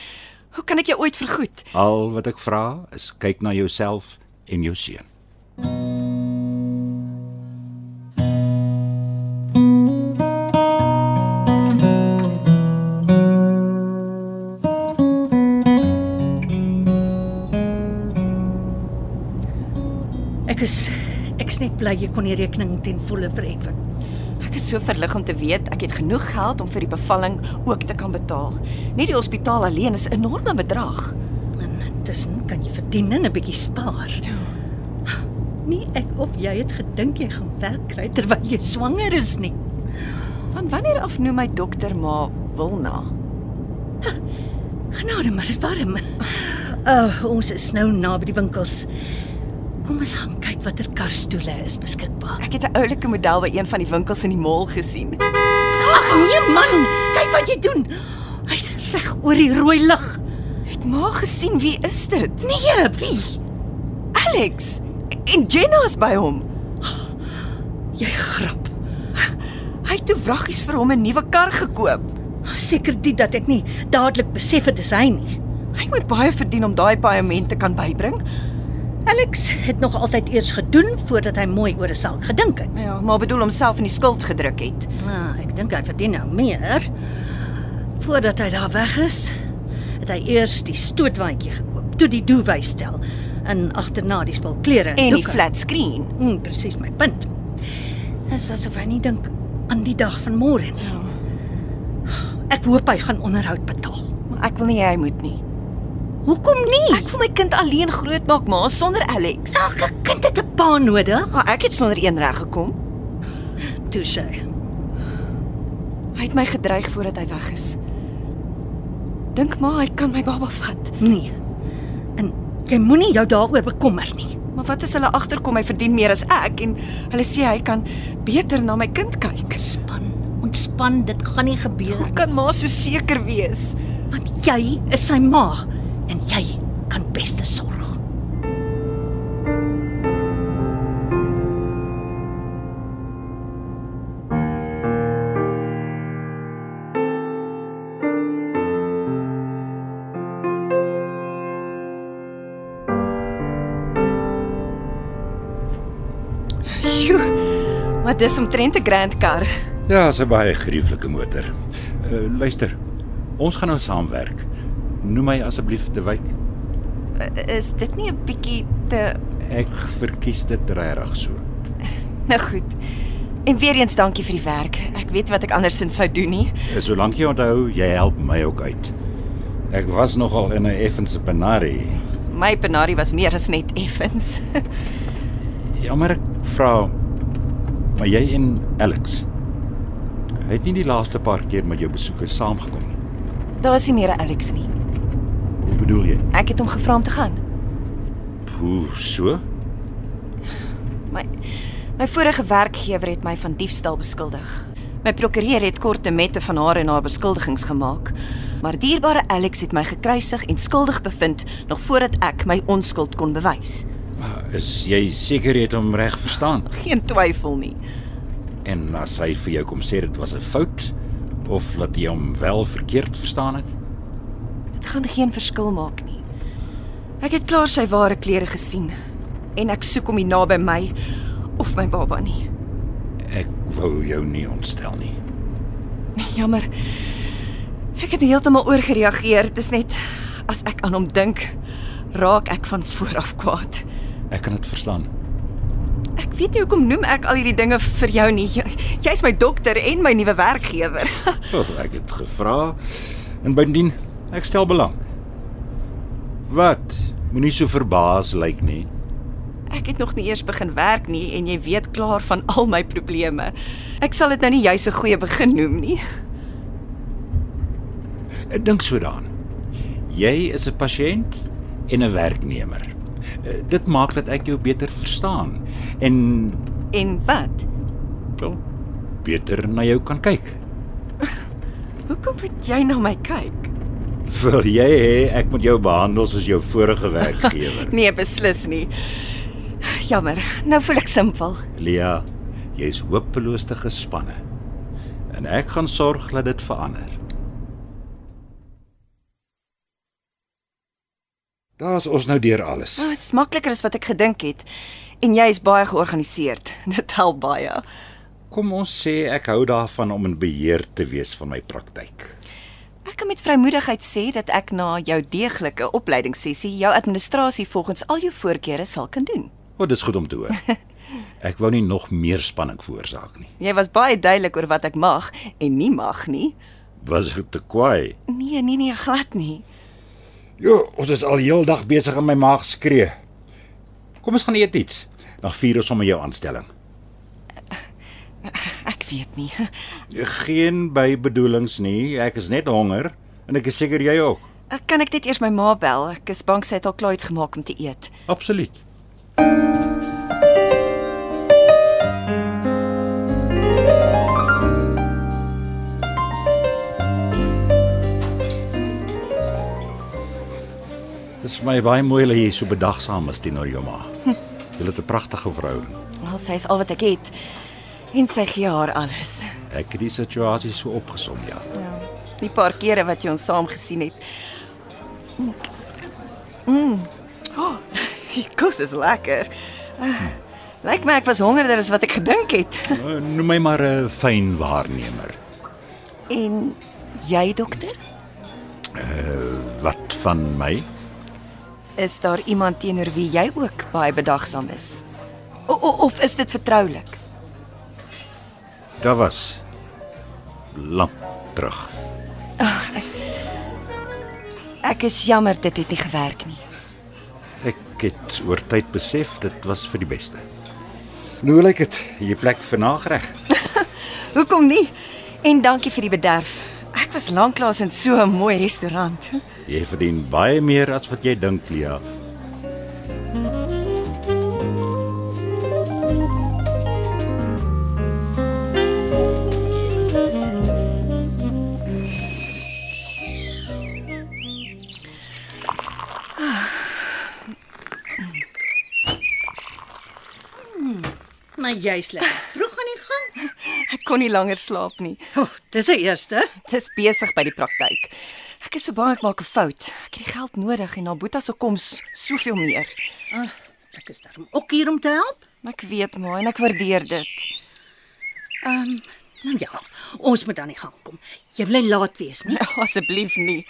Speaker 3: Hoe kan ek jou ooit vergoed?
Speaker 5: Al wat ek vra is kyk na jouself en jou seun.
Speaker 2: Ek is ek's net bly jy kon die rekening ten volle vir Edwin.
Speaker 3: Ek is so verlig om te weet ek het genoeg geld om vir die bevalling ook te kan betaal. Net die hospitaal alleen is 'n enorme bedrag.
Speaker 2: En intussen kan jy verdien en 'n bietjie spaar. Nie ek of jy het gedink jy gaan werk kry terwyl jy swanger is nie.
Speaker 3: Van wanneer af noem my dokter ma Wilna?
Speaker 2: Genade, maar dit is warm. Uh, ons is nou naby die winkels. Kom ons gaan kyk watter karstoele is beskikbaar.
Speaker 3: Ek het 'n oulike model by een van die winkels in die mall gesien.
Speaker 2: Ag nee man, kyk wat jy doen. Hy's reg oor die rooi lig.
Speaker 3: Het ma gesien wie is dit?
Speaker 2: Nee, wie?
Speaker 3: Alex. En Jenna is by hom.
Speaker 2: Jy grap.
Speaker 3: Hy het toe wraggies vir hom 'n nuwe kar gekoop.
Speaker 2: Seker dit dat ek nie dadelik besef het dis hy nie.
Speaker 3: Hy moet baie verdien om daai paaiement te kan bybring.
Speaker 2: Alex het nog altyd eers gedoen voordat hy mooi oor 'n saak gedink het.
Speaker 3: Ja, maar bedoel homself in die skuld gedruk het.
Speaker 2: Ah, ek dink hy verdien nou meer. Voordat hy daar weg is, het hy eers die stootwandjie gekoop, toe die duwy stel en agterna die spul klere
Speaker 3: En die
Speaker 2: doeke.
Speaker 3: flat screen.
Speaker 2: Mm, presies my punt. Is asof hy nie dink aan die dag van môre nie. Ek hoop hy gaan onderhoud betaal.
Speaker 3: Maar Ek wil nie hy moet nie.
Speaker 2: Hoekom nie?
Speaker 3: Ek wil my kind alleen grootmaak, ma, sonder Alex.
Speaker 2: Elke kind het 'n pa nodig.
Speaker 3: Ja, Maar ek het sonder een reg gekom.
Speaker 2: Ah, Toe sê.
Speaker 3: Hy het my gedreig voordat hy weg is. Dink maar hy kan my baba vat.
Speaker 2: Nee. En jy moenie jou daaroor bekommer nie.
Speaker 3: Maar wat as hulle agterkom hy verdien meer as ek en hulle sê hy kan beter na my kind kyk?
Speaker 2: Ontspan, ontspan, dit gaan nie gebeur
Speaker 3: Hoe kan ma so seker wees?
Speaker 2: want jy is sy ma en jy kan beste sorg.
Speaker 3: Sjoe. Maar dis omtrent 'n grand kar.
Speaker 5: Ja, dis 'n baie gerieflike motor. Uh, luister. Ons gaan nou saamwerk. Noem my asseblief De Wyk.
Speaker 3: Is dit nie 'n bietjie te
Speaker 5: Ek verkies dit regtig so.
Speaker 3: nou goed. En weer eens dankie vir die werk. Ek weet wat ek andersins sou doen nie.
Speaker 5: En Solank jy onthou, jy help my ook uit. Ek was nogal in 'n effense penarie.
Speaker 3: My penari was meer as net effens.
Speaker 5: Jammer Ja, ek vra, maar jy en Alex. Hy het nie die laaste paar keer met jou besoeke saamgekom nie.
Speaker 3: Daar is nie meer 'n Alex nie.
Speaker 5: Hoe bedoel jy?
Speaker 3: Ek het hom gevra om te gaan.
Speaker 5: Hoe so?
Speaker 3: My my vorige werkgewer het my van diefstal beskuldig. My prokureur het korte mette van haar en haar beskuldigings gemaak. Maar dierbare Alex het my gekruisig en skuldig bevind nog voordat ek my onskuld kon bewys.
Speaker 5: Maar is jy seker jy het hom reg verstaan?
Speaker 3: Geen twyfel nie.
Speaker 5: En as hy vir jou kom sê dit was 'n fout of dat jy hom wel verkeerd verstaan het?
Speaker 3: Dit gaan geen verskil maak nie. Ek het klaar sy ware klere gesien en ek soek hom nie naby my of my baba nie.
Speaker 5: Ek wou jou nie ontstel nie.
Speaker 3: Jammer. Ek het heeltemal oorgereageer. Dit is net as ek aan hom dink, raak ek van vooraf kwaad.
Speaker 5: Ek kan dit verstaan.
Speaker 3: Ek weet nie hoekom noem ek al hierdie dinge vir jou nie. Jy- Jy's my dokter en my nuwe werkgewer.
Speaker 5: Oh, ek het gevra en bindien ek stel belang. Wat? Moenie so verbaas lyk nie.
Speaker 3: Ek het nog nie eers begin werk nie en jy weet klaar van al my probleme. Ek sal dit nou nie jous 'n goeie begin noem nie.
Speaker 5: Ek dink so daaraan. Jy is 'n pasiënt en 'n werknemer. Eh, Dit maak dat ek jou beter verstaan en
Speaker 3: En wat?
Speaker 5: wel beter na jou kan kyk.
Speaker 3: Hoekom moet jy na my kyk?
Speaker 5: Wil jy hê ek moet jou behandel soos jou vorige werkgewer?
Speaker 3: Nee, beslis nie. Jammer. Nou voel ek simpel.
Speaker 5: Lia, jy's hopeloos te gespanne. En ek gaan sorg dat dit verander. Daar's ons nou deur alles.
Speaker 3: Nou, dit is makliker as wat ek gedink het. En jy is baie georganiseerd. Dit help baie.
Speaker 5: Kom ons sê ek hou daarvan om in beheer te wees van my praktyk.
Speaker 3: Ek kan met vrymoedigheid sê dat ek na jou deeglike opleidingssessie jou administrasie volgens al jou voorkeure sal kan doen.
Speaker 5: Wat is goed om te hoor. Ek wou nie nog meer spanning veroorsaak nie.
Speaker 3: Jy was baie duidelik oor wat ek mag en nie mag nie.
Speaker 5: Was dit te kwaai?
Speaker 3: Nee, nee, nee, glad nie.
Speaker 5: Jo, ons is al heeldag besig in my maag skree. Kom ons gaan eet iets. Dan vier ons sommer jou aanstelling.
Speaker 3: Ek weet nie.
Speaker 5: Geen bybedoelings nie. Ek is net honger en ek is seker jy ook.
Speaker 3: Ek kan ek net eers my ma bel. Ek is bang sy het al klaar iets gemaak om te eet.
Speaker 5: Absoluut. Dit is vir my baie mooi dat jy so bedagsaam is teenoor jou ma. Julle het 'n pragtige verhouding.
Speaker 3: Wel, sy is al wat ek het. En sy gee haar alles.
Speaker 5: Ek het die situasie so opgesom, ja.
Speaker 3: Ja. Die paar kere wat jy ons saam gesien het. Mm. Oh, die kos is lekker. Uh, Lyk my ek was hongerder as wat ek gedink het.
Speaker 5: Eh, Noem my maar 'n fyn waarnemer.
Speaker 3: En jy, dokter?
Speaker 5: Wat van my?
Speaker 3: Is daar iemand teenoor wie jy ook baie bedagsaam is? O, o, of is dit vertroulik?
Speaker 5: Daar was lank terug.
Speaker 3: Ek is jammer dit het nie gewerk nie.
Speaker 5: Ek het oor tyd besef dit was vir die beste. Nou lyk dit, jy plek vir nagereg.
Speaker 3: Hoekom nie? En dankie vir die bederf. Ek was lanklaas in so 'n mooi restaurant.
Speaker 5: Jy verdien baie meer as wat jy dink, Lia.
Speaker 2: Maar jy's lekker vroeg aan die gang.
Speaker 3: Ek kon nie langer slaap nie.
Speaker 2: Oh, dis die eerste.
Speaker 3: Dit is besig by die praktyk. Ek is so bang ek maak 'n fout. Ek het die geld nodig en Nabuta se kom s- soveel meer.
Speaker 2: Ah, ek is daarom ook hier om te help.
Speaker 3: Ek weet maar en ek waardeer dit.
Speaker 2: Ehm, um, nou ja, ons moet aan die gang kom. Jy wil nie laat wees nie.
Speaker 3: Asseblief nie.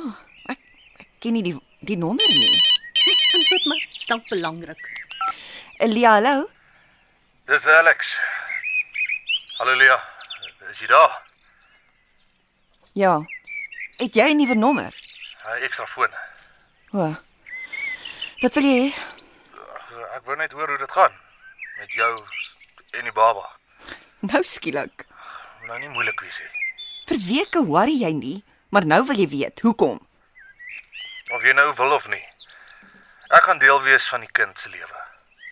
Speaker 3: Oh, ek ek ken nie die die nommer nie.
Speaker 2: Antwoord maar, stel belangrik.
Speaker 3: Elia, hallo.
Speaker 10: Dis Alex. Hallo Lia. Is jy daar?
Speaker 3: Ja. Het jy 'n nuwe nommer?
Speaker 10: 'n Ekstra foon.
Speaker 3: O. Wat wil jy hê?
Speaker 10: Eh, Ek wou net hoor hoe dit gaan met jou en die baba.
Speaker 3: Nou skielik.
Speaker 10: Moet nou nie moeilik wees nie.
Speaker 3: Vir weke worry jy nie, maar nou wil jy weet hoekom.
Speaker 10: Of jy nou wil of nie. Ek gaan deel wees van die kind se lewe.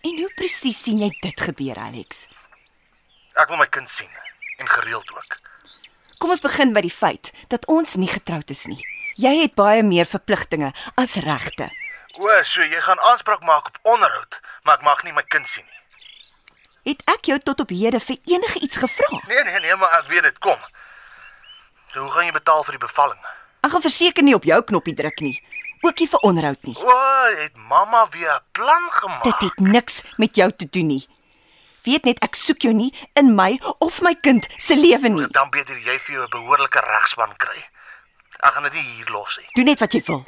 Speaker 3: En hoe presies sien jy dit gebeur, Alex?
Speaker 10: Ek wil my kind sien en gereeld ook.
Speaker 3: Kom ons begin by die feit dat ons nie getroud is nie. Jy het baie meer verpligtinge as regte.
Speaker 10: O, so jy gaan aanspraak maak op onderhoud, maar ek mag nie my kind sien nie.
Speaker 3: Het ek jou tot op hede vir enige iets gevra?
Speaker 10: Nee nee nee, maar ek weet dit kom. So hoe gaan jy betaal vir die bevalling?
Speaker 3: Ek gaan verseker nie op jou knoppie druk nie. ook nie vir onderhoud nie.
Speaker 10: O, het mamma weer 'n plan gemaak.
Speaker 3: Dit het niks met jou te doen nie. Weet net ek soek jou nie in my of my kind se lewe nie.
Speaker 10: Dan beter jy vir jou 'n behoorlike regsman kry. Ek gaan dit nie hier los nie.
Speaker 3: Doen net wat jy wil.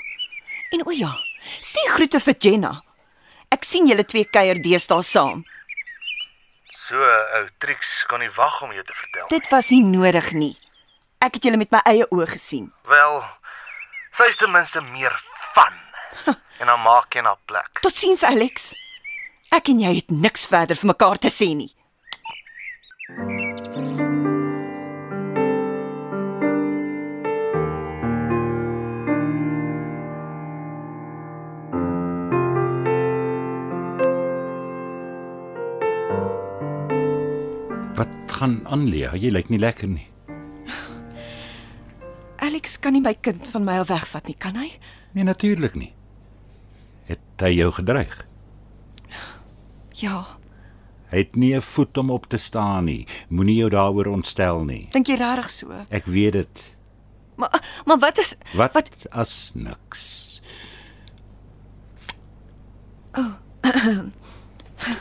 Speaker 3: En o ja, stuur groete vir Jenna. Ek sien julle twee kuier deesdae saam.
Speaker 10: So 'n ou triks kon nie wag om jou te vertel.
Speaker 3: Dit was nie nodig nie. Ek het julle met my eie oë gesien.
Speaker 10: Wel, sy is ten minste meer van. en dan maak jy na plek.
Speaker 3: Totsiens Alex. Ek en jy het niks verder vir mekaar te sê nie.
Speaker 5: Wat gaan aan, Lia? Jy lyk nie lekker nie.
Speaker 3: Alex kan nie my kind van my af wegvat nie, kan hy?
Speaker 5: Nee, natuurlik nie. Het hy jou gedreig?
Speaker 3: Ja.
Speaker 5: Hy het nie 'n voet om op te staan nie. Moenie jou daaroor ontstel nie.
Speaker 3: Dink jy regtig so?
Speaker 5: Ek weet dit.
Speaker 3: Maar maar wat is
Speaker 5: Wat, wat? as niks?
Speaker 3: Oh.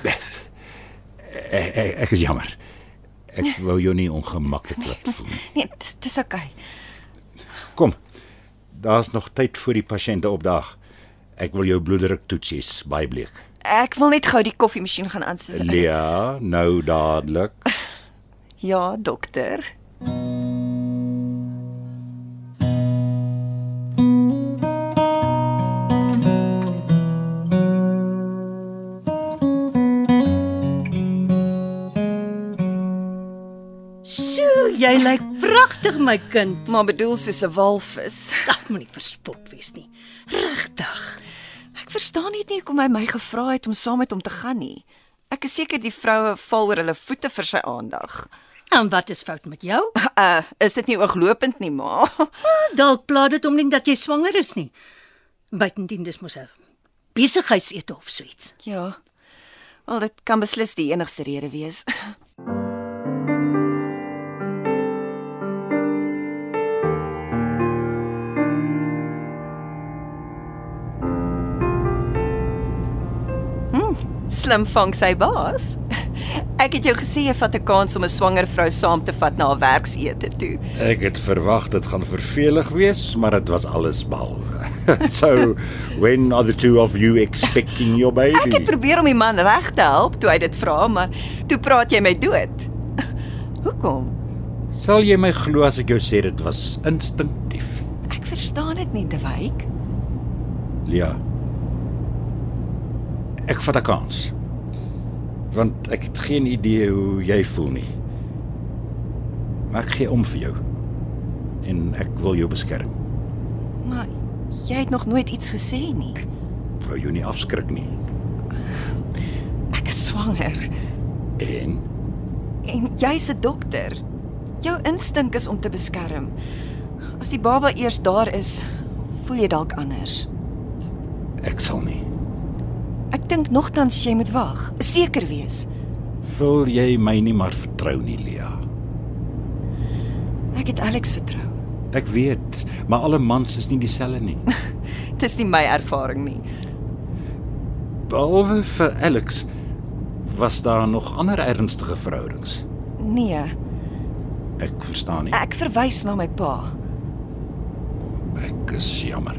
Speaker 5: Ek, Eh, ek, ek is jammer. Ek wou jou nie ongemaklik laat voel. nie.
Speaker 3: nee, dis dis okay.
Speaker 5: Kom. Daar's nog tyd voor die pasiënte opdaag. Ek wil jou bloeddruk toets, jy's baie bleek.
Speaker 3: Ek wil net gou die koffiemasjien gaan aansit.
Speaker 5: Lia, nou dadelik.
Speaker 3: Ja, dokter.
Speaker 2: Sjoe, jy lyk pragtig my kind.
Speaker 3: Maar bedoel soos 'n walvis.
Speaker 2: Ag, moenie verspot wees nie.
Speaker 3: Ek verstaan net nie hoekom hy my gevra het om saam met hom te gaan nie. Ek is seker die vroue val oor hulle voete vir sy aandag.
Speaker 2: En wat is fout met jou?
Speaker 3: Uh, is dit nie ooglopend nie, ma?
Speaker 2: Dalk pla dit hom nie dat jy swanger is nie. Buitendien dis mos 'n besigheidsete of so iets.
Speaker 3: Ja. Wel, dit kan beslis die enigste rede wees. Hm, slim vang sy baas. Ek het jou gesê jy vat 'n kans om 'n swanger vrou saam te vat na haar werksete toe.
Speaker 5: Ek het verwag dit gaan vervelig wees, maar dit was alles behalwe. so, when are the two of you expecting your
Speaker 3: Ek het
Speaker 5: baby?
Speaker 3: probeer om die man reg te help toe hy dit vra, maar toe praat jy my dood. Hoekom?
Speaker 5: Sal jy my glo as ek jou sê dit was instinktief,
Speaker 3: Ek verstaan dit nie, Dewyk.
Speaker 5: Lia? Ek vat 'n kans. Want ek het geen idee hoe jy voel nie. Maar ek gee om vir jou. En ek wil jou beskerm.
Speaker 3: Maar jy het nog nooit iets gesê nie.
Speaker 5: Ek wou jou nie afskrik nie.
Speaker 3: Ek is swanger
Speaker 5: En
Speaker 3: en jy's 'n dokter. Jou instink is om te beskerm. As die baba eers daar is, voel jy dalk anders.
Speaker 5: ek sal nie.
Speaker 3: Ek dink nogtans jy moet wag, seker wees.
Speaker 5: Wil jy my nie maar vertrou nie, Lia?
Speaker 3: Ek het Alex vertrou.
Speaker 5: Ek weet, maar alle mans is nie dieselfde nie.
Speaker 3: Dis nie my ervaring nie.
Speaker 5: Behalwe vir Alex was daar nog ander ernstige verhoudings.
Speaker 3: Nee,
Speaker 5: Ek verstaan nie.
Speaker 3: ek verwys na my pa.
Speaker 5: Ek is jammer.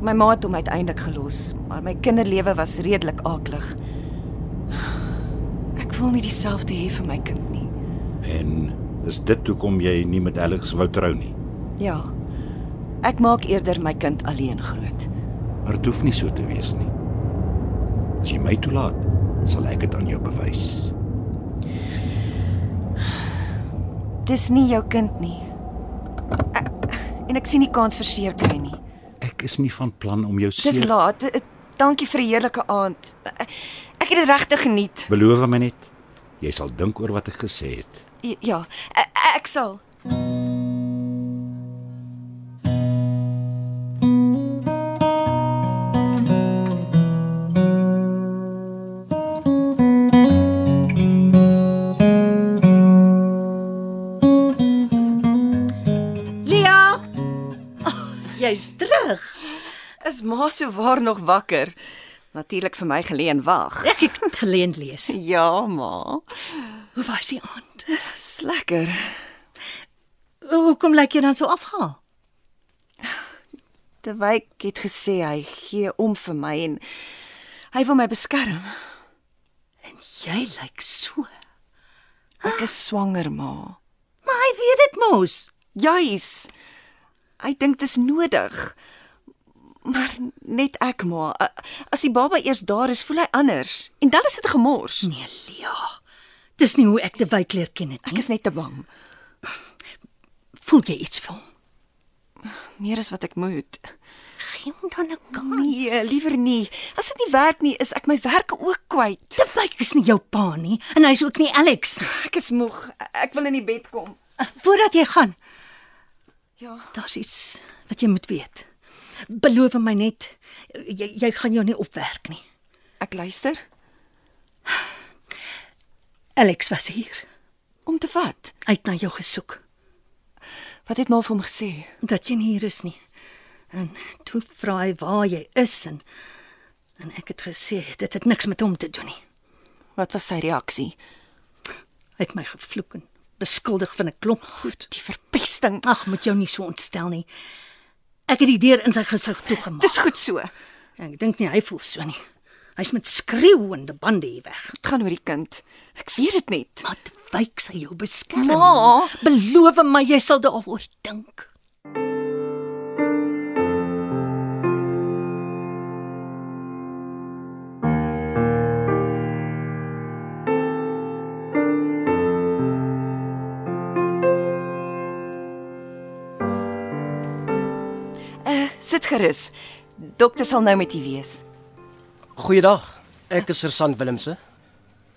Speaker 3: My ma het hom uiteindelik gelos, maar my kinderlewe was redelik aaklig. Ek wil nie dieselfde hê vir my kind nie.
Speaker 5: En is dit hoekom jy nie met Alex wou trou nie?
Speaker 3: Ja. Ek maak eerder my kind alleen groot.
Speaker 5: Maar dit hoef nie so te wees nie. As jy my toelaat, sal ek dit aan jou bewys.
Speaker 3: Dis nie jou kind nie. E- En ek sien nie kans vir seer kry nie.
Speaker 5: Ek is nie van plan om jou
Speaker 3: Dis
Speaker 5: seer.
Speaker 3: laat. E- e- Dankie vir 'n heerlike aand. E- Ek het dit regtig geniet.
Speaker 5: Beloof my net, jy sal dink oor wat ek gesê het.
Speaker 3: J- Ja, e- ek sal.
Speaker 2: Lia, oh, jy's terug.
Speaker 3: Is ma so waar nog wakker? Natuurlik vir my gelê en wag. Ek
Speaker 2: het gelê en lees.
Speaker 3: Ja, ma.
Speaker 2: Hoe was die aand?
Speaker 3: Dis lekker.
Speaker 2: Hoekom lyk jy dan so afgehaal?
Speaker 3: Terwyk het gesê hy gee om vir my en hy wil my beskerm.
Speaker 2: En jy lyk so.
Speaker 3: Ek is swanger, ma.
Speaker 2: Maar hy weet dit mos.
Speaker 3: Juis. Hy dink dit is nodig. Maar net ek maar as die baba eers daar is, voel hy anders en dan is dit 'n gemors.
Speaker 2: Nee, Lia. Dis nie hoe ek te wyk leer ken het nie.
Speaker 3: Ek is net te bang.
Speaker 2: Voel jy iets vir hom?
Speaker 3: Meer as wat ek moet.
Speaker 2: Gee hom dan 'n kans.
Speaker 3: Nee, liewer nie. As dit nie werk nie, is ek my werk ook kwyt.
Speaker 2: Te wyk is nie jou pa nie en hy's ook nie Alex nie.
Speaker 3: Ek is moeg. Ek wil in die bed kom.
Speaker 2: Voordat jy gaan.
Speaker 3: Ja.
Speaker 2: Daar's iets wat jy moet weet. Beloof my net jy jy gaan jou nie opwerk nie.
Speaker 3: Ek luister.
Speaker 2: Alex was hier.
Speaker 3: Om te wat?
Speaker 2: Hy het na jou gesoek.
Speaker 3: Wat het maar vir hom gesê?
Speaker 2: Dat jy nie hier is nie. En toe vra hy waar jy is en en ek het gesê dit het niks met hom te doen nie.
Speaker 3: Wat was sy reaksie?
Speaker 2: Hy het my gevloek en beskuldig van 'n klomp goed,
Speaker 3: die verpesting.
Speaker 2: Ag, moet jou nie so ontstel nie. Ek het die deur in sy gesig toegemaak.
Speaker 3: Dis goed so.
Speaker 2: Ek dink nie hy voel so nie. Hy's met skreeuende bande hier weg.
Speaker 3: Dit gaan oor die kind. Ek weet dit net.
Speaker 2: Maar wyk sy jou beskerm.
Speaker 3: Ma,
Speaker 2: beloof my jy sal daaroor dink.
Speaker 3: Sit gerus. Dokter sal nou met u wees.
Speaker 11: Goeiedag. Ek is Sersant Willemse.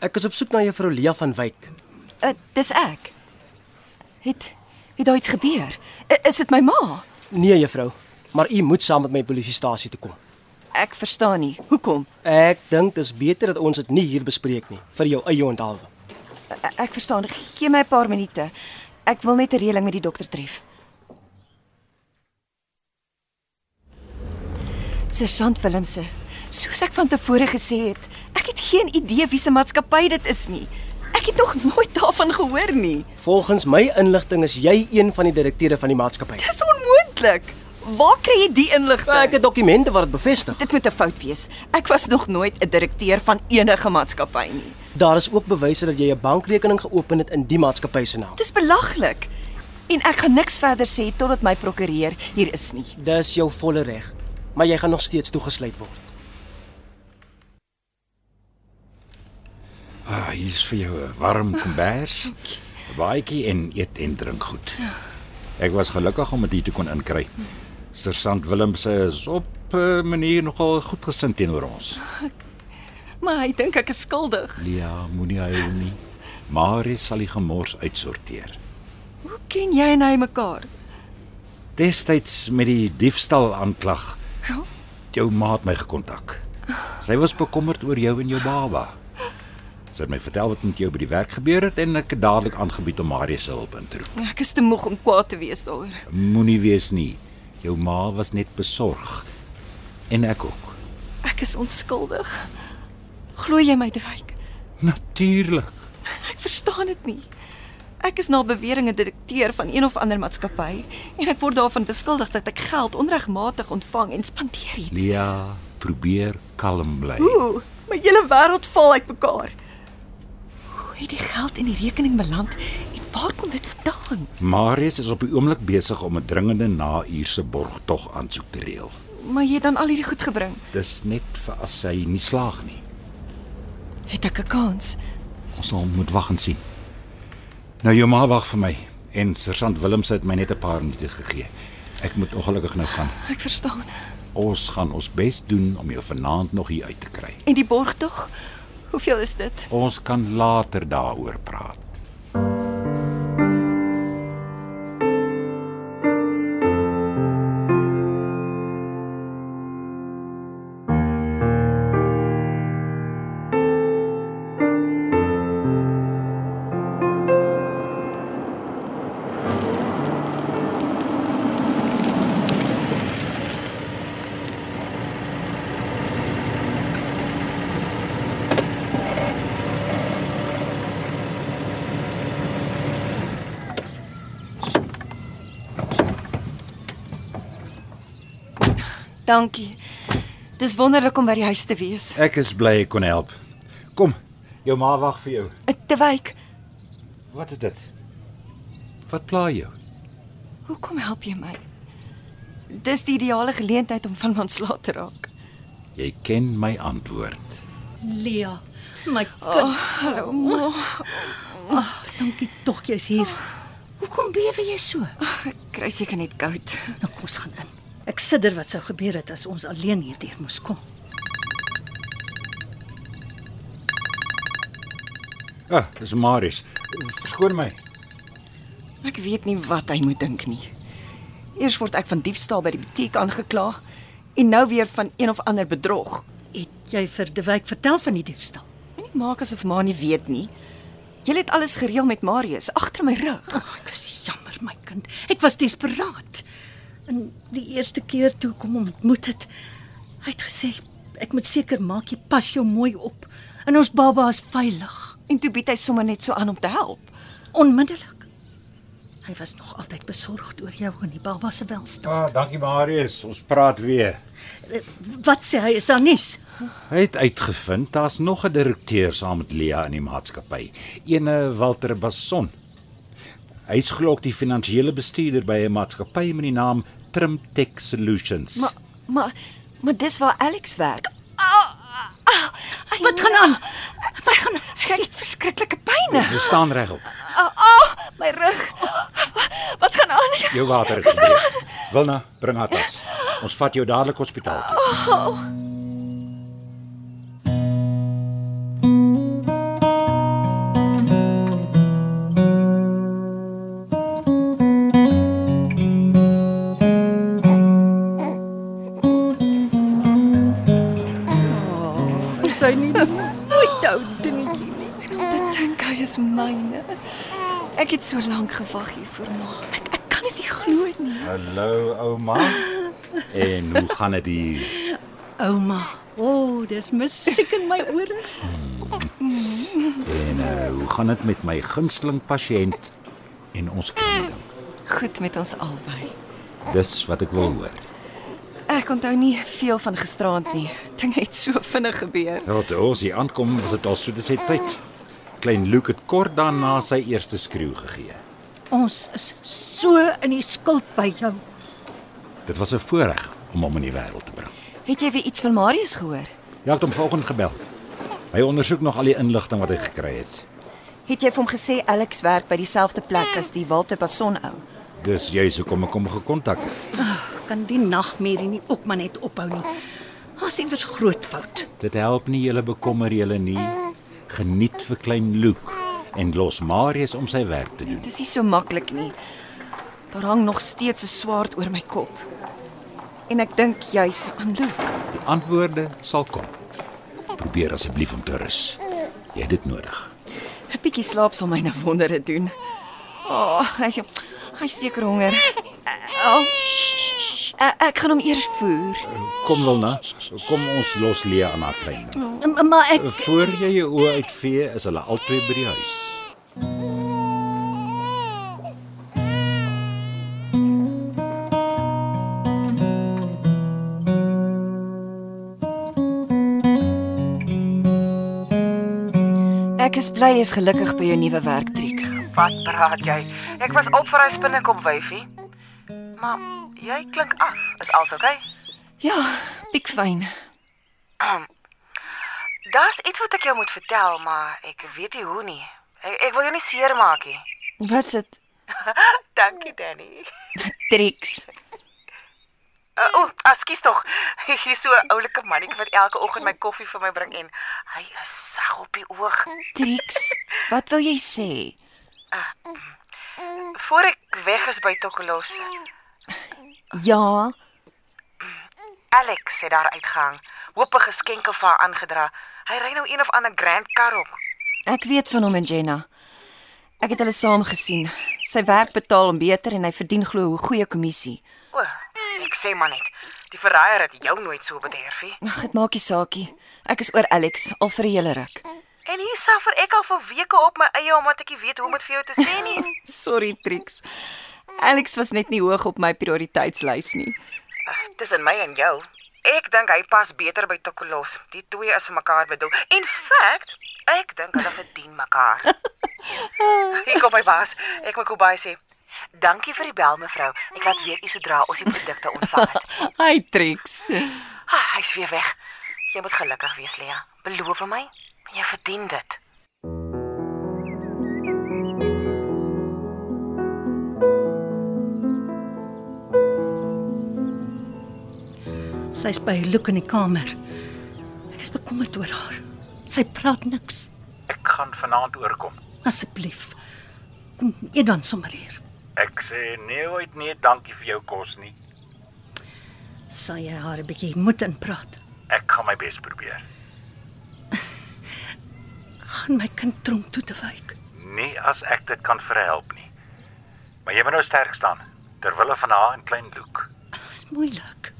Speaker 11: Ek is op soek na Juffrou Lia van Wyk.
Speaker 3: Uh, dis ek. Het het daar iets gebeur? Uh, is dit my ma?
Speaker 11: Nee, juffrou, maar u moet saam met my polisiestasie toe kom.
Speaker 3: Ek verstaan nie. Hoekom?
Speaker 11: Ek dink dis beter dat ons dit nie hier bespreek nie vir jou eie onthaalwe.
Speaker 3: Uh, ek verstaan. Gee my 'n paar minute. Ek wil net 'n reëling met die dokter tref. Sergeant Willemse, soos ek van tevore gesê het, ek het geen idee wie se maatskappy dit is nie. Ek het nog nooit daarvan gehoor nie.
Speaker 11: Volgens my inligting is jy een van die direkteure van die maatskappy.
Speaker 3: Dis onmoontlik. Waar kry jy die inligting?
Speaker 11: Ek het dokumente wat dit bevestig.
Speaker 3: Dit moet 'n fout wees. Ek was nog nooit 'n direkteur van enige maatskappy nie.
Speaker 11: Daar is ook bewyse dat jy 'n bankrekening geopen het in die maatskappy se naam.
Speaker 3: Dis belaglik. En ek gaan niks verder sê totdat my prokureur hier is nie.
Speaker 11: Dis jou volle reg, maar jy gaan nog steeds toegesluit word.
Speaker 5: Ah, hier's vir jou 'n warm kombers, 'n baadjie en eet en drink goed. Ek was gelukkig om dit hier te kon inkry. Sersant Willemse is op 'n uh, manier nogal goedgesind teenoor ons.
Speaker 3: Maar hy dink ek is skuldig.
Speaker 5: Lia, moenie huil nie. Marie sal die gemors uitsorteer.
Speaker 3: Hoe ken jy en hy mekaar?
Speaker 5: Destyds met die diefstal aanklag.
Speaker 3: Ja?
Speaker 5: Jou ma het my gekontak. Sy was bekommerd oor jou en jou baba. Sy het my vertel wat met jou by die werk gebeur het en ek het dadelik aangebied om Marius se hulp in te roep.
Speaker 3: Ek is te moeg om kwaad te wees daaroor.
Speaker 5: Moenie wees nie. Jou ma was net besorg en ek ook.
Speaker 3: Ek is onskuldig. Glo jy my, Dwyk?
Speaker 5: Natuurlik.
Speaker 3: Ek verstaan dit nie. Ek is na beweringe direkteur van een of ander maatskappy en ek word daarvan beskuldig dat ek geld onregmatig ontvang en spandeer het.
Speaker 5: Lia, probeer kalm bly.
Speaker 3: Ooh, my hele wêreld val uitmekaar het die geld in die rekening beland en waar kom dit vandaan?
Speaker 5: Marius is op die oomblik besig om 'n dringende nauurse borgtog aansoek te reël.
Speaker 3: Maar jy het dan al hierdie goed gebring.
Speaker 5: Dis net vir as sy nie slaag nie.
Speaker 3: Het ek 'n kans?
Speaker 5: Ons sal moet wag en sien. Nou jou ma wag vir my en sergeant Willemse het my net 'n paar minute gegee. Ek moet ongelukkig nou gaan.
Speaker 3: Ek verstaan.
Speaker 5: Ons gaan ons bes doen om jou vanaand nog hier uit te kry.
Speaker 3: En die borgtog? Hoeveel is dit?
Speaker 5: Ons kan later daaroor praat.
Speaker 3: Dankie. Dis wonderlik om by die huis te wees.
Speaker 5: Ek is bly ek kon help. Kom, jou ma wag vir jou.
Speaker 3: Te wyk.
Speaker 5: Wat is dit? Wat pla jou?
Speaker 3: Hoekom help jy my? Dis die ideale geleentheid om van my ontslae te raak.
Speaker 5: Jy ken my antwoord.
Speaker 2: Lea, my kind.
Speaker 3: Oh, hallo, ma.
Speaker 2: Ag, dankie tog jy's hier. Hoekom bewe jy so?
Speaker 3: Kry seker net koud.
Speaker 2: Nou kom ons gaan in. Ek sidder wat sou gebeur het as ons alleen hierdeur moes kom.
Speaker 5: Ah, dis Marius. Verskoon my.
Speaker 3: Ek weet nie wat hy moet dink nie. Eers word ek van diefstal by die butiek aangekla en nou weer van een of ander bedrog.
Speaker 2: Het jy vir De Wyk vertel van die diefstal?
Speaker 3: Moenie maak asof ma nie weet nie. Jy het alles gereël met Marius agter my rug.
Speaker 2: Ag, ek is jammer my kind. Ek was desperaat. En die eerste keer toe ek hom ontmoet het, hy het gesê ek moet seker maak jy pas jou mooi op en ons baba is veilig.
Speaker 3: En toe bied hy sommer net so aan om te help.
Speaker 2: Onmiddellik. Hy was nog altyd besorgd oor jou en die baba se welstand.
Speaker 5: Ah, dankie Marius. Ons praat weer.
Speaker 2: Eh, Wat sê hy is daar nuus?
Speaker 5: Hy het uitgevind daar's nog 'n direkteur saam met Lea in die maatskappy, ene Walter Basson. Hy's glo ook die finansiële bestuurder by 'n maatskappy met die naam Trimtech Solutions.
Speaker 3: Maar maar maar dis waar Alex werk.
Speaker 2: Wat gaan aan?
Speaker 3: Wat gaan ek het verskriklike pyne.
Speaker 5: Jy staan regop.
Speaker 3: Ah, oh, my rug. Wat gaan aan?
Speaker 5: Jou water is gebreek. Wilna, bring haar tas. Ons vat jou dadelik hospitaal toe.
Speaker 3: Oh.
Speaker 2: Is hy nie
Speaker 3: Moes jy dingetjie nie. En om te dink hy is myne. Ek het so lank gewag hier vir my. Ek ek kan dit nie glo nie.
Speaker 5: Hallo ouma. En hoe gaan dit hier?
Speaker 2: Ouma, o, oh, dis musiek in my ore.
Speaker 5: En uh, hoe gaan dit met my gunsteling pasiënt en ons kliniek?
Speaker 3: Goed met ons albei.
Speaker 5: Dis wat ek wil hoor.
Speaker 3: Ek onthou nie veel van gisteraand nie. Dinge het so vinnig gebeur.
Speaker 5: Ja, toe ons hier aankom, was dit al so dis tyd. Klein Luke het kort daarna sy eerste skreeu gegee.
Speaker 2: Ons is so in die skuld by jou.
Speaker 5: Dit was 'n voorreg om hom in die wêreld te bring.
Speaker 3: Het jy weer iets van Marius gehoor?
Speaker 5: Ja, ek het hom vanoggend gebel. Hy ondersoek nog al die inligting wat hy gekry het.
Speaker 3: Het jy vir hom gesê Alex werk by dieselfde plek as die Walter Bason ou?
Speaker 5: Dis juis hoekom ek hom gekontak het.
Speaker 2: Oh, kan die nagmerrie nie ook maar net ophou nie. Ons het 'n groot fout.
Speaker 5: Dit help nie julle bekommer julle nie. Geniet vir klein Luke en los Marius om sy werk te doen.
Speaker 3: Dit is nie so maklik nie. Daar hang nog steeds 'n swaard oor my kop. En ek dink juis aan Luke.
Speaker 5: Die antwoorde sal kom. Probeer asseblief om te rus. Jy het dit nodig.
Speaker 3: 'n Bietjie slaap sal my nou wondere doen. O, oh, hy hy is seker honger. Oh, ek gaan hom eers voer.
Speaker 5: Kom Wilna, kom ons los Lea aan haar klein. ding.
Speaker 2: M- Maar ek
Speaker 5: Voor jy jou oë uitvee, is hulle albei by die huis.
Speaker 3: Ek is bly jy's gelukkig by jou nuwe werk, Trix.
Speaker 9: Wat praat jy? Ek was op vir hy spinnekop wyfie. Maar jy klink af. Is alles oukei?
Speaker 3: Ja, piek fyn.
Speaker 9: Okay? Daar's iets wat ek jou moet vertel, maar ek weet nie hoe nie. Ek, ek wil jou nie seermaak nie.
Speaker 3: Wat's dit,
Speaker 9: Dankie Danny.
Speaker 3: Trix?
Speaker 9: Uh, o, oh, ekskuus tog. Hier's so 'n oulike mannetjie wat elke oggend my koffie vir my bring en hy is sag op die oog.
Speaker 3: Trix, wat wou jy sê?
Speaker 9: Voor ek weg is by Tokolos,
Speaker 3: Ja,
Speaker 9: Alex het daar uitgehang. Hoop 'n geskenke vir haar aangedra. Hy ry nou een of ander grand kar op.
Speaker 3: ek weet van hom en Jenna. Ek het hulle saam gesien. Sy werk betaal hom beter en hy verdien glo 'n goeie kommissie.
Speaker 9: O, ek sê maar net, die verraaier het jou nooit so bederfie.
Speaker 3: Ag, dit maak nie saakie. Ek is oor Alex al vir 'n hele ruk.
Speaker 9: En hier suffer ek al vir weke op my eie omdat ek nie weet hoe om dit vir jou te sê nie.
Speaker 3: Sorry Trix. Alex was net nie hoog op my prioriteitslys nie.
Speaker 9: Tussen my en jou. Ek dink hy pas beter by Tokolos. Die twee is vir mekaar bedoel. In fact, ek dink hulle verdien mekaar. Hier kom my baas. Ek moet Kobay sê. Dankie vir die bel mevrou. Ek laat weet u sodra ons die produkte ontvang het.
Speaker 3: Hi Trix.
Speaker 9: Ah, hy's weer weg. Jy moet gelukkig wees, Lea. Beloof vir my, jy verdien dit.
Speaker 2: Sy's by Luke in die kamer. Ek is bekommerd oor haar. Sy praat niks.
Speaker 12: Ek gaan vanaand oorkom.
Speaker 2: Asseblief. Kom eet dan sommer hier.
Speaker 12: Ek sê nee ooit nee, dankie vir jou kos nie.
Speaker 2: Sal jy haar 'n bietjie moed inpraat?
Speaker 12: Ek gaan my bes probeer.
Speaker 2: Gaan my kind tronk toe te wyk.
Speaker 12: Nie as ek dit kan verhelp nie. Maar jy moet nou sterk staan ter wille van haar en klein Luke
Speaker 2: Dis moeilik.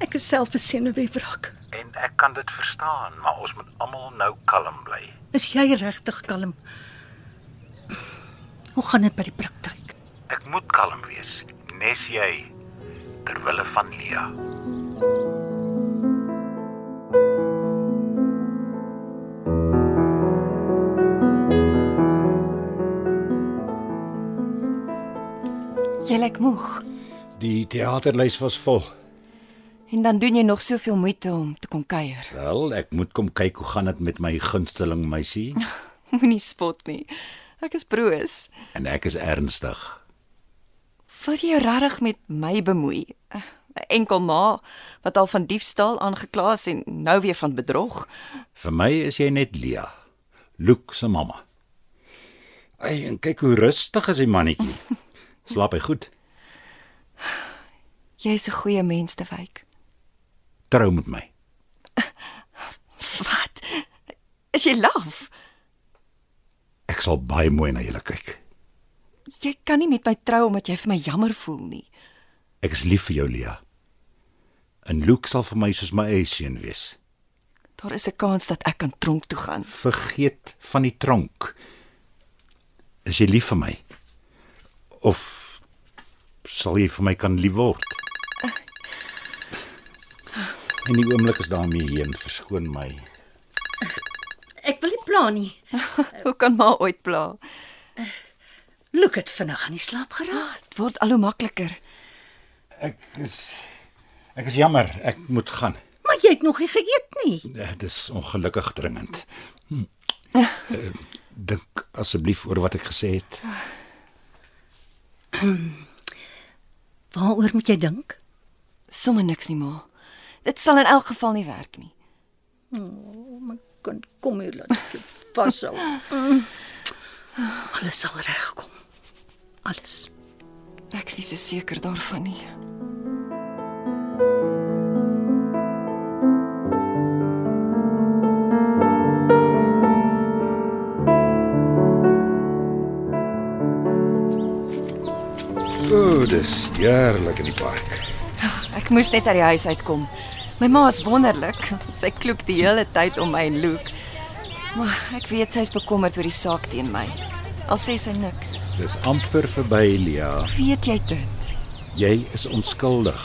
Speaker 2: Ek is self 'n senuweewrak.
Speaker 12: en ek kan dit verstaan, maar ons moet almal nou kalm bly.
Speaker 2: Is jy regtig kalm? Hoe gaan dit by die praktyk?
Speaker 12: Ek moet kalm wees, nes jy ter wille van Lea.
Speaker 3: Jy lyk moeg
Speaker 5: Die teaterlys was vol.
Speaker 3: en dan doen jy nog soveel moeite om te kom kuier.
Speaker 5: Wel, ek moet kom kyk hoe gaan dit met my gunsteling meisie
Speaker 3: Moenie spot nie. Ek is broos.
Speaker 5: en ek is ernstig.
Speaker 3: Wil jy jou regtig met my bemoei? 'n Enkel ma wat al van diefstal aangekla is en nou weer van bedrog.
Speaker 5: Vir my is jy net Lea, Luke se mamma. Ai, en kyk hoe rustig is die mannetjie. Slaap hy goed?
Speaker 3: Jy's 'n goeie mens te wyk.
Speaker 5: Trou met my.
Speaker 3: Is jy laf?
Speaker 5: Ek sal baie mooi na julle kyk.
Speaker 3: Jy kan nie met my trou omdat jy vir my jammer voel nie.
Speaker 5: Ek is lief vir jou, Lea. En Luke sal vir my soos my eie seun wees.
Speaker 3: Daar is 'n kans dat ek kan tronk toe gaan.
Speaker 5: Vergeet van die tronk. Is jy lief vir my? Of sal jy vir my kan lief word? In die oomblik is daarmee heen, verskoon my.
Speaker 2: Ek wil nie pla nie.
Speaker 3: Hoe kan ma ooit pla?
Speaker 2: Luke het vinnig aan die slaap geraak.
Speaker 3: Dit Ah, word al hoe makliker.
Speaker 5: Ek is ek is jammer, ek moet gaan.
Speaker 2: Maar jy het nog nie geëet nie.
Speaker 5: Eh, Dis ongelukkig dringend. Hm. Eh, Dink asseblief oor wat ek gesê het.
Speaker 2: Waaroor moet jy dink?
Speaker 3: Sommige niks nie, ma. Dit sal in elk geval nie werk nie.
Speaker 2: O, oh, my kind, kom hier laat ek jou vashou. Mm. Alles sal regkom. Alles.
Speaker 3: Ek is nie so seker daarvan nie.
Speaker 5: O, oh, dis heerlik in die park.
Speaker 3: Ek moes net uit die huis uitkom. My ma is wonderlik. Sy kloop die hele tyd om my en Luke. Maar ek weet sy is bekommerd oor die saak teen my. Al sê sy niks.
Speaker 5: Dis amper verby, Lia.
Speaker 3: Weet jy dit?
Speaker 5: Jy is onskuldig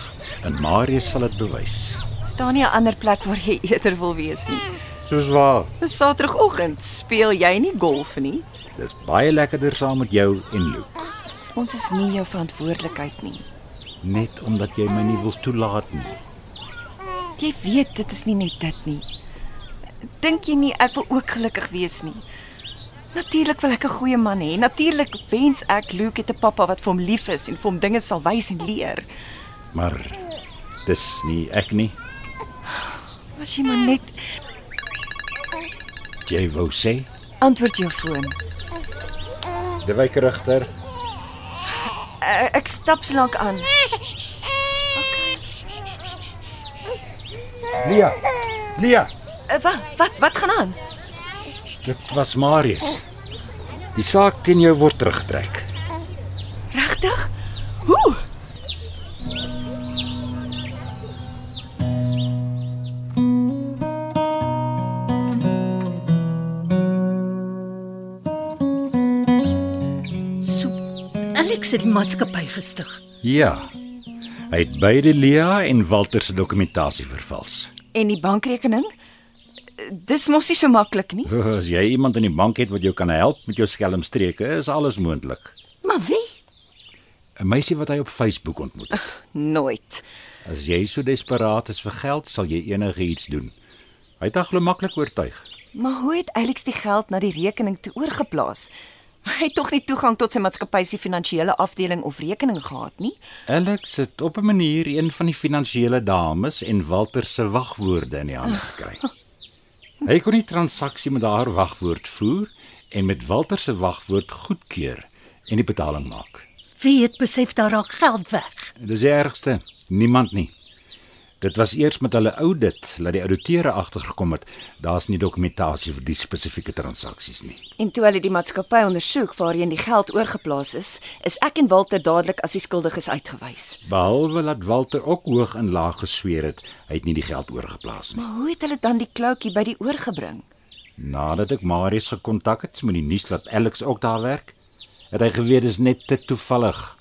Speaker 5: en Marius sal dit bewys.
Speaker 3: Is daar nie 'n ander plek waar jy eerder wil wees nie?
Speaker 5: Soos waar.
Speaker 3: Dis Saterdagoggend. Speel jy nie golf nie?
Speaker 5: Dis baie lekkerder saam met jou en Luke,
Speaker 3: Ons is nie jou verantwoordelikheid nie.
Speaker 5: net omdat jy my nie wil toelaat nie.
Speaker 3: Jy weet dit is nie net dit nie. Dink jy nie ek wil ook gelukkig wees nie? Natuurlik wil ek 'n goeie man hê. Natuurlik wens ek Luke het 'n pappa wat vir hom lief is en vir hom dinge sal wys en leer.
Speaker 5: Maar dis nie ek nie.
Speaker 3: As jy maar net
Speaker 5: Jy wou sê,
Speaker 3: antwoord jou foon.
Speaker 5: die wykregter,
Speaker 3: Uh, ek stap so lank aan.
Speaker 5: Lia. Lia,
Speaker 3: Uh, wat wat wat gaan aan?
Speaker 5: dit was Marius. Die saak teen jou word teruggetrek.
Speaker 3: Regtig? Hoe?
Speaker 2: So Alex het die maatskappy gestig.
Speaker 5: Ja. Hy het beide Lea en Walter se dokumentasie vervals.
Speaker 3: En die bankrekening? Eh, Dis mos nie so maklik nie.
Speaker 5: As jy iemand in die bank het wat jou kan help met jou skelmstreke, is alles moontlik.
Speaker 3: Maar wie?
Speaker 5: 'n Meisie wat hy op Facebook ontmoet het.
Speaker 3: Nooit.
Speaker 5: As jy so desperaat is vir geld, sal jy enigiets doen. Hy het haar glo maklik oortuig.
Speaker 3: Maar hoe het Alex die geld na die rekening toe oorgeplaas? Hy het tog nie toegang tot sy maatskappy se finansiële afdeling of rekening gehad nie.
Speaker 5: Alex het op 'n manier een van die finansiële dames en Walter se wagwoorde in die hande gekry. Hy kon die transaksie met haar wagwoord voer en met Walter se wagwoord goedkeur en die betaling maak.
Speaker 7: Wie het besef daar raak geld weg?
Speaker 5: Dis die ergste, niemand nie. Dit was eers met hulle audit dat die ouditeure agtergekom het daar's nie dokumentasie vir die spesifieke transaksies nie.
Speaker 3: En toe hulle die maatskappy ondersoek waarheen die geld oorgeplaas is, is ek en Walter dadelik as die skuldiges uitgewys.
Speaker 5: Behalwe dat Walter ook hoog en laag gesweer het, hy het nie die geld oorgeplaas nie.
Speaker 3: Maar hoe het hulle dan die kloutjie by die oor gebring?
Speaker 5: Nadat ek Marius gekontak het met die nuus dat Alex ook daar werk, het hy geweet dis net te toevallig.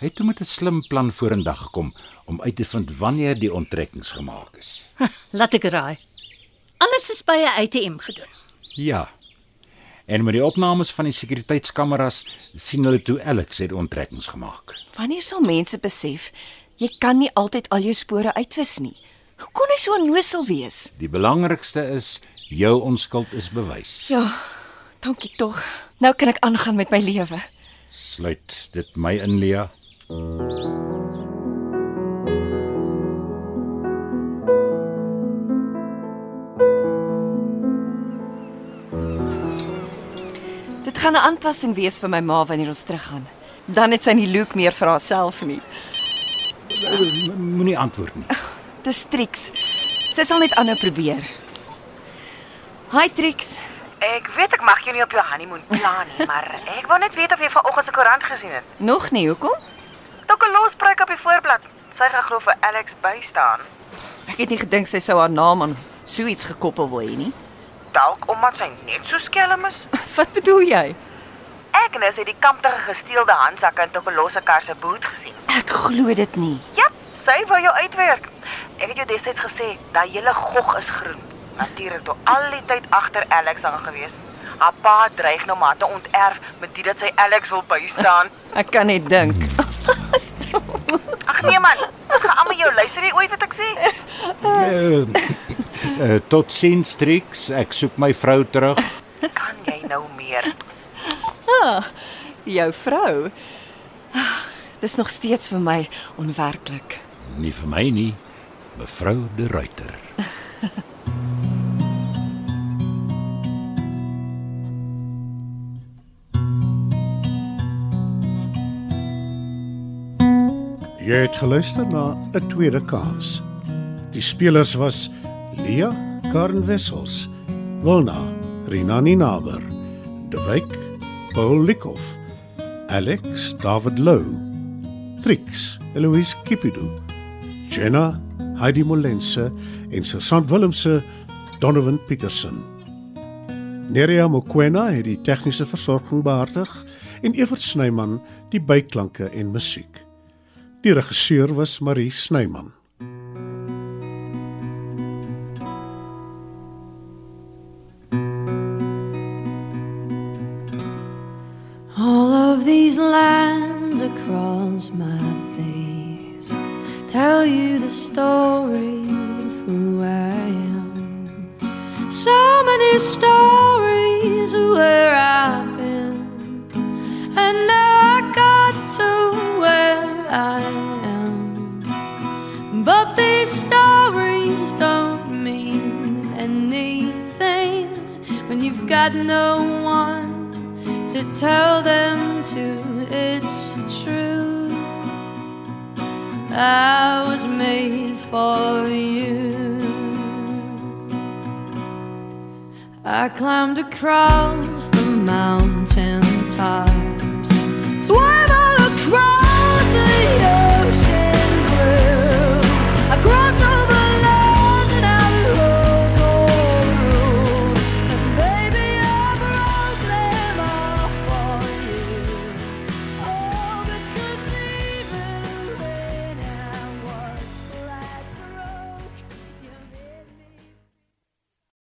Speaker 5: Hy het toe met 'n slim plan vorendag gekom om uit te vind wanneer die onttrekkings gemaak is.
Speaker 7: Laat ek raai. Alles is by 'n ATM gedoen.
Speaker 5: Ja. En met die opnames van die sekuriteitskameras sien hulle toe Alex het onttrekkings gemaak.
Speaker 3: Wanneer sal mense besef jy kan nie altyd al jou spore uitwis nie? Hoe kon hy so onnoosel wees?
Speaker 5: Die belangrikste is jou onskuld is bewys.
Speaker 3: Ja, dankie tog. Nou kan ek aangaan met my lewe.
Speaker 5: Sluit dit my in Lea.
Speaker 3: Dit gaan 'n aanpassing wees vir my ma wanneer ons teruggaan. Dan het sy nie Luke meer vir haarself nie.
Speaker 5: Eh, M- Moenie antwoord nie.
Speaker 3: Dis Trix. Sy sal net aanhou probeer. Hi Trix.
Speaker 9: Ek weet ek mag jou nie op jou honeymoon plan nie, maar ek wou net weet of jy vanoggend se koerant gesien het.
Speaker 3: Nog nie, hoekom?
Speaker 9: Tokolos pruik op die voorblad. Sy gaan glo vir Alex bystaan.
Speaker 3: Ek het nie gedink sy sou haar naam aan so iets gekoppel wil hê nie.
Speaker 9: Dalk omdat sy net so skelm is.
Speaker 3: Wat bedoel jy?
Speaker 9: Agnes het die kamptige gesteelde handsak in Tokolos se kar se boot gesien.
Speaker 3: Ek glo dit nie.
Speaker 9: Ja, sy wou jou uitwerk. Ek het jou destyds gesê dat julle gog is groen. Natuurlik toe al die tyd agter Alex aangewees. Haar pa dreig nou maar te onterf met dit dat sy Alex wil bystaan.
Speaker 3: Ek kan net dink.
Speaker 9: Ag nee man, ek gaan almal jou luister jy ooit wat ek sê?
Speaker 5: Uh, uh, tot sins Trix, ek soek my vrou terug.
Speaker 9: Kan jy nou meer?
Speaker 3: Ah, jou vrou. Ah, Dis nog steeds vir my onwerklik.
Speaker 5: Nie vir my nie, mevrou De Ruyter.
Speaker 1: Jy het geluister na 'n tweede kans. Die spelers was Lea Karen Wessels, Wilna Rina Ninaber, De Wyk Paul Likoff, Alex David Lou, Trix Eloise Kipidu, Jenna Heidi Molense en Susan Willemse Donovan Petersen. Nerea Mokoena het die tegniese versorging behartig en Evert Snyman die byklanke en musiek. Die regisseur was Marie Snyman.
Speaker 2: All of these lines across my face tell you the story of who I am. So many stories of where I've been, and now I got to where I am. But these stories don't mean anything when you've got no one to tell them to it's true. I was made for you. I climbed across the mountain top Oh,